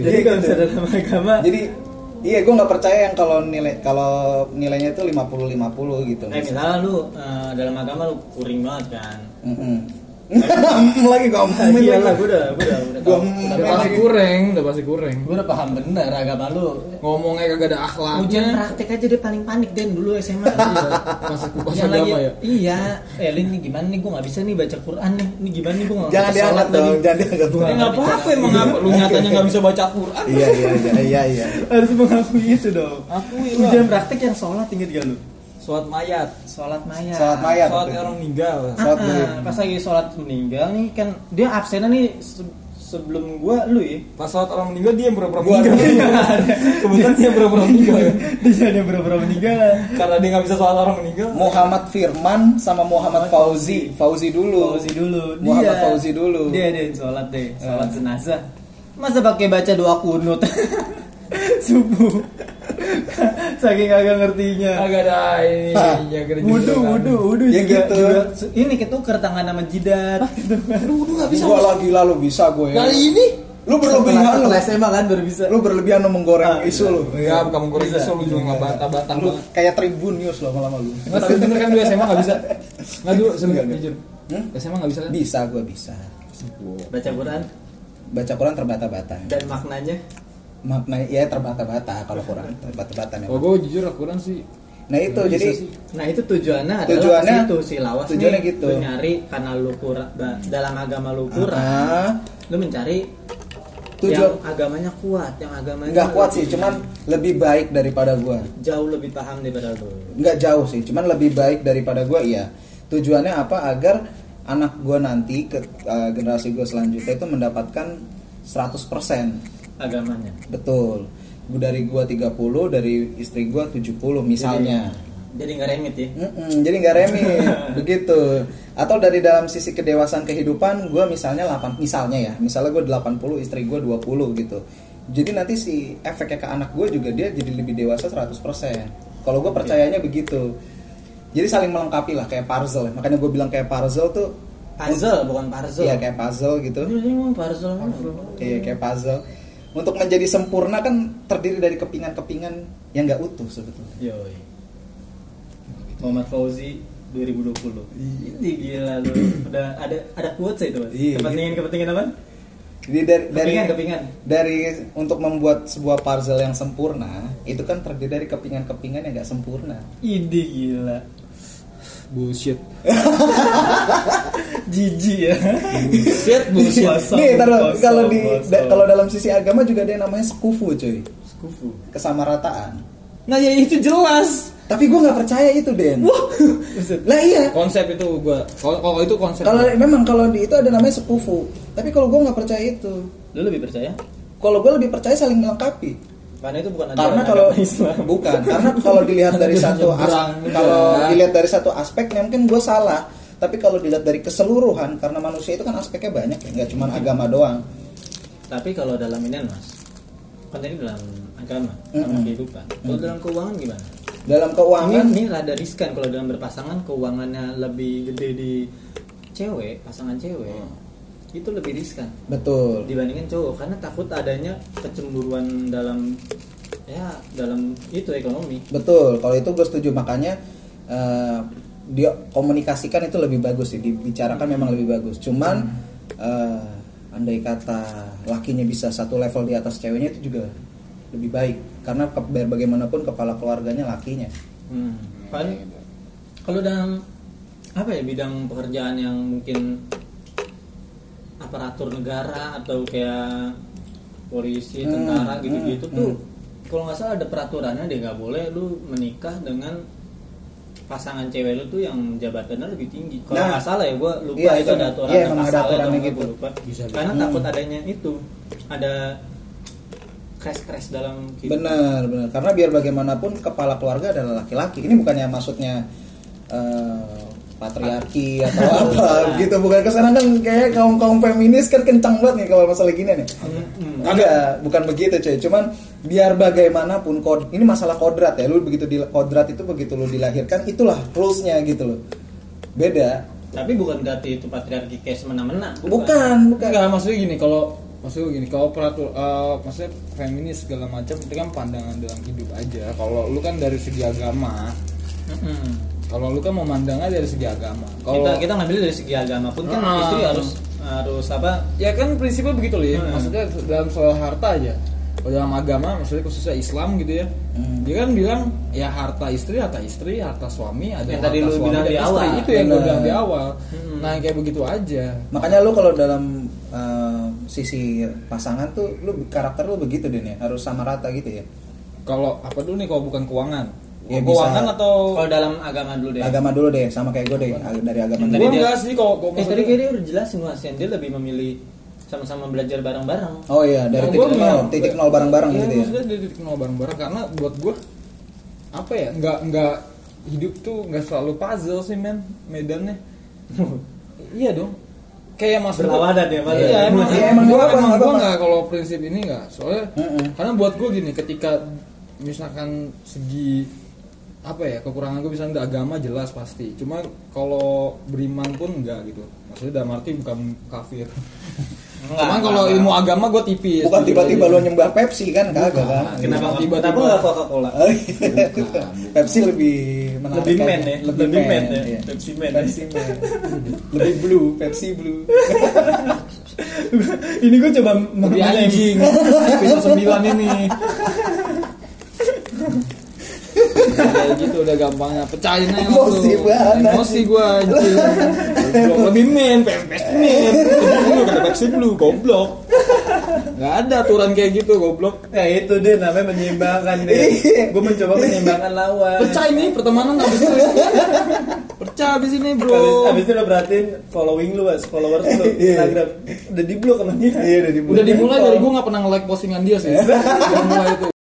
jadi kalau misalnya dalam agama
jadi gitu. Iya, gue nggak percaya yang kalau nilai kalau nilainya itu 50-50 gitu.
Eh misalnya lu eh, dalam agama lu kuring banget kan.
Mm-mm. (laughs) lagi
Ah,
ngomongin
Iya lah,
lagi.
gue udah, gue udah, udah
Gua
tahu.
Udah pasti kurang, udah pasti kurang.
Gue udah paham bener agama lu.
Ngomongnya kagak ada akhlaknya.
Ujian
Iya.
praktek aja dia paling panik dan dulu
(laughs)
SMA.
Masa masa
Iya. Yang lagi,
agama ya?
Iya, eh Lin nih gimana nih gue gak bisa nih baca Quran nih Ini gimana nih gue gak
Jangan diangkat dong, jangan diangkat.
Ya nggak apa-apa emang apa lu nyatanya nggak bisa baca Quran.
Iya, iya, iya, iya, iya.
Harus mengakui itu dong
Akui lah.
Ujian praktek yang sholat inget gak lu?
Sholat mayat,
Ya, Sholat mayat
Sholat mayat.
sholat
betul.
orang meninggal.
Ah,
Sholat mayat.
pas lagi sholat meninggal nih kan Dia absennya nih se- sebelum gue lu (laughs) ya
Pas sholat orang meninggal dia yang pura-pura meninggal.
(laughs)
Kebetulan dia yang pura-pura meninggal.
Di sana berapa meninggal
Karena dia nggak bisa sholat orang meninggal.
Muhammad Firman sama Muhammad Fauzi. Fauzi dulu.
Fauzi dulu.
Muhammad Fauzi dulu.
Dia ada yang sholat deh, sholat jenazah. Masa pakai baca doa kunut (laughs) subuh. Saking agak ngertinya.
Agak ada ini.
Hah.
ya, kira
Wudu,
gitu kan.
wudu, wudu
Ya
juga,
gitu.
juga. Ini ketuker tangan sama jidat.
Aduh, wudu nggak bisa. Nah, iya.
Gua lagi lalu bisa gue.
Kali ini
(laughs) Lu berlebihan lu.
Setelah SMA kan baru bisa.
Lu berlebihan lu menggoreng isu lu.
Ya, kamu kurang
Bisa.
bisa lu juga nggak bantah-bantah
Lu
banget.
kayak Tribun News lo lama-lama lu.
Nggak, tapi bener kan dulu SMA nggak bisa. Nggak dulu, sebenernya jujur.
Hmm?
SMA nggak bisa kan?
Bisa gue bisa.
Baca Quran
Baca Quran terbata-bata.
dan maknanya.
Maknanya ya terbata-bata kalau Quran
Oh,
terbata-bata memang.
gue jujur akuran sih.
Nah itu
Bisa
jadi
sih.
Nah itu tujuannya adalah
Tujuannya-
itu si lawas
tujuannya
nih,
gitu.
lu nyari karena lu kurang da- dalam agama lu kurang,
ah,
lu mencari yang
tujuan
agamanya kuat, yang agamanya
Ah, nggak kuat sih,
lebih-
cuman lebih baik daripada gua.
jauh lebih paham daripada lu.
nggak jauh sih cuman lebih baik daripada gue iya tujuannya apa agar anak gue nanti ke eh, generasi gue selanjutnya itu mendapatkan 100%
agamanya.
betul dari gue 30 dari istri gue 70 misalnya
Jadi nggak remit ya.
Mm-mm, jadi nggak
(laughs)
remi begitu atau dari dalam sisi kedewasaan kehidupan gue misalnya 8 misalnya ya misalnya gue 80 istri gue 20 gitu jadi nanti si efeknya ke anak gue juga dia jadi lebih dewasa 100% kalau gue percayanya begitu jadi saling melengkapi lah kayak puzzle ya. makanya gue bilang kayak puzzle tuh
Puzzle bukan puzzle.
iya kayak puzzle gitu
Ini emang puzzle.
Iya kayak puzzle. Untuk menjadi sempurna kan terdiri dari kepingan-kepingan yang nggak utuh sebetulnya.
Yoi. Muhammad Fauzi 2020. Ini gila lu. Udah ada ada quotes ya itu. Mas?
Iya,
kepentingan kepentingan apa?
Jadi dari, dari
Kepingan kepingan.
dari untuk membuat sebuah puzzle yang sempurna itu kan terdiri dari kepingan-kepingan yang nggak sempurna.
Ini gila.
Bullshit.
Jijik ya.
Bullshit, bullshit.
Puasa,
Nih taruh
puasa,
kalau di
puasa.
da- kalau dalam sisi agama juga ada yang namanya sekufu cuy
Sekufu.
kesamarataan.
Nah, ya itu jelas.
Tapi gue nggak percaya itu Den. (laughs) lah iya.
Konsep itu gua. Kalau kalau itu konsep.
Kalau memang kalau di itu ada namanya sekufu. Tapi kalau gue nggak percaya itu.
Lu lebih percaya?
Kalau gue lebih percaya saling melengkapi.
Karena itu bukan
karena
ajaran
kalau
agama Islam.
(laughs)
gitu
bukan karena kalau dilihat dari
Aduh,
satu as-
nyebrang.
kalau
Ya.
dilihat dari satu aspeknya mungkin gue salah tapi kalau dilihat dari keseluruhan karena manusia itu kan aspeknya banyak ya nggak cuma agama doang
Tapi kalau dalam ini mas, kan tadi dalam agama, dalam
Mm-mm.
kehidupan. Kalau dalam keuangan gimana?
dalam
Ini,
keuangan
ini rada riskan kalau dalam berpasangan keuangannya lebih gede di cewek, pasangan cewek. Itu lebih riskan
betul
dibandingkan cowok karena takut adanya kecemburuan dalam ya dalam itu ekonomi.
betul kalau itu gue setuju makanya eh, dia komunikasikan itu lebih bagus sih dibicarakan memang lebih bagus cuman eh, andai kata lakinya bisa satu level di atas ceweknya itu juga lebih baik karena ke- biar bagaimanapun kepala keluarganya lakinya
Hmm. Kan kalau dalam apa ya bidang pekerjaan yang mungkin aparatur negara atau kayak polisi,
Hmm,
tentara
hmm,
gitu-gitu
hmm.
tuh kalau nggak salah ada peraturannya deh nggak boleh lu menikah dengan pasangan cewek lu tuh yang jabatannya lebih tinggi. Kalau
Nah,
nggak salah ya gua
iya,
lupa itu
itu.
ada aturan
Iya, emang ada aturannya gitu.
lupa.
Bisa, bisa.
Karena
Hmm.
takut adanya itu ada crash-crash dalam
Benar, benar. Karena biar bagaimanapun kepala keluarga adalah laki-laki. Ini bukannya maksudnya eh, patriarki
Ah.
atau
(laughs) Nah.
apa gitu. Bukan kesana kan kayak kaum kaum feminis kan kencang banget nih kalau masalah gini nih.
Hmm, hmm.
Enggak, bukan begitu cuy. Cuman biar bagaimanapun kod ini masalah kodrat ya. Lu begitu di kodrat itu begitu lu dilahirkan itulah rulesnya gitu loh. Beda.
Tapi bukan berarti itu patriarki kayak semena-mena.
Bukan, bukan.
Enggak, Kan maksudnya gini, kalau maksudnya gini kalau peraturan maksudnya feminis segala macam itu kan pandangan dalam hidup aja kalau lu kan dari segi agama
Mm-mm.
kalau lu kan memandangnya dari segi agama kalau
kita kita ngambil dari segi agama pun kan
Ah.
istri harus harus apa
ya kan prinsipnya begitu loh ya
Hmm.
maksudnya dalam soal harta aja kalau dalam agama maksudnya khususnya Islam gitu ya
Hmm.
dia kan bilang ya harta istri harta istri harta suami ada
Yang
harta
tadi lu
suami
bilang
dan
di
istri.
awal.
itu yang gue
Benar.
bilang di awal
Hmm.
nah kayak begitu aja
makanya lu kalau dalam eh, sisi pasangan tuh lu karakter lu begitu deh nih harus sama rata gitu ya
kalau apa dulu nih kalau bukan keuangan
Ya, bisa.
keuangan atau
kalau dalam agama dulu deh
agama dulu deh sama kayak gue deh ag- dari agama
Yang
gue
tadi
dulu
dia-
enggak sih kalau kalau
eh tadi
maksudnya-
kayak dia udah jelasin mas yang dia lebih memilih sama-sama belajar bareng-bareng
oh iya dari
Nah,
titik
gua
nol
bilang-
titik nol bareng bareng
Iya,
gitu ya
maksudnya dari titik nol bareng-bareng karena buat gue apa ya nggak nggak hidup tuh nggak selalu puzzle sih men medannya (laughs) iya dong kayak mas
Berlawanan ya, Mas.
iya emang
Iya,
emang gue emang
emang nggak apa-apa, nggak
gue
apa-apa.
nggak kalau prinsip ini nggak soalnya
Heeh.
karena buat gue gini ketika misalkan segi apa ya kekurangan gue misalnya agama jelas pasti cuma kalau beriman pun enggak gitu maksudnya dalam arti bukan kafir (laughs)
Enggak,
cuman kalau
enggak.
ilmu agama gue
iya,
tipis
bukan
gitu.
tiba-tiba lu nyembah Pepsi kan kagak kan
kenapa
Iya.
tiba-tiba
Kenapa
nggak
nggak
Coca Cola
(laughs) Oh, iya. Pepsi lebih menarik
Lebih
aja.
men ya?
lebih,
Lebih
men,
men ya?
iya.
Pepsi men.
Pepsi men. lebih blue Pepsi blue
(laughs) ini gue coba
Di anjing episode 9 ini kayak gitu udah gampangnya pecahin aja langsung.
Emosi banget,
emosi gua anjing Goblok, lebih men pepes men lu kata pepsi blue goblok nggak ada aturan kayak gitu goblok
ya itu deh namanya menyeimbangkan deh gue mencoba menyeimbangkan lawan
pecah ini pertemanan abis itu pecah abis ini
Abis,
bro
abis itu udah berartiin following lu, Mas, followers lu
Iya.
Instagram. Udah di block sama dia.
iya udah di (laughs)
udah dimulai dari gua nggak pernah nge-like postingan dia sih udah mulai itu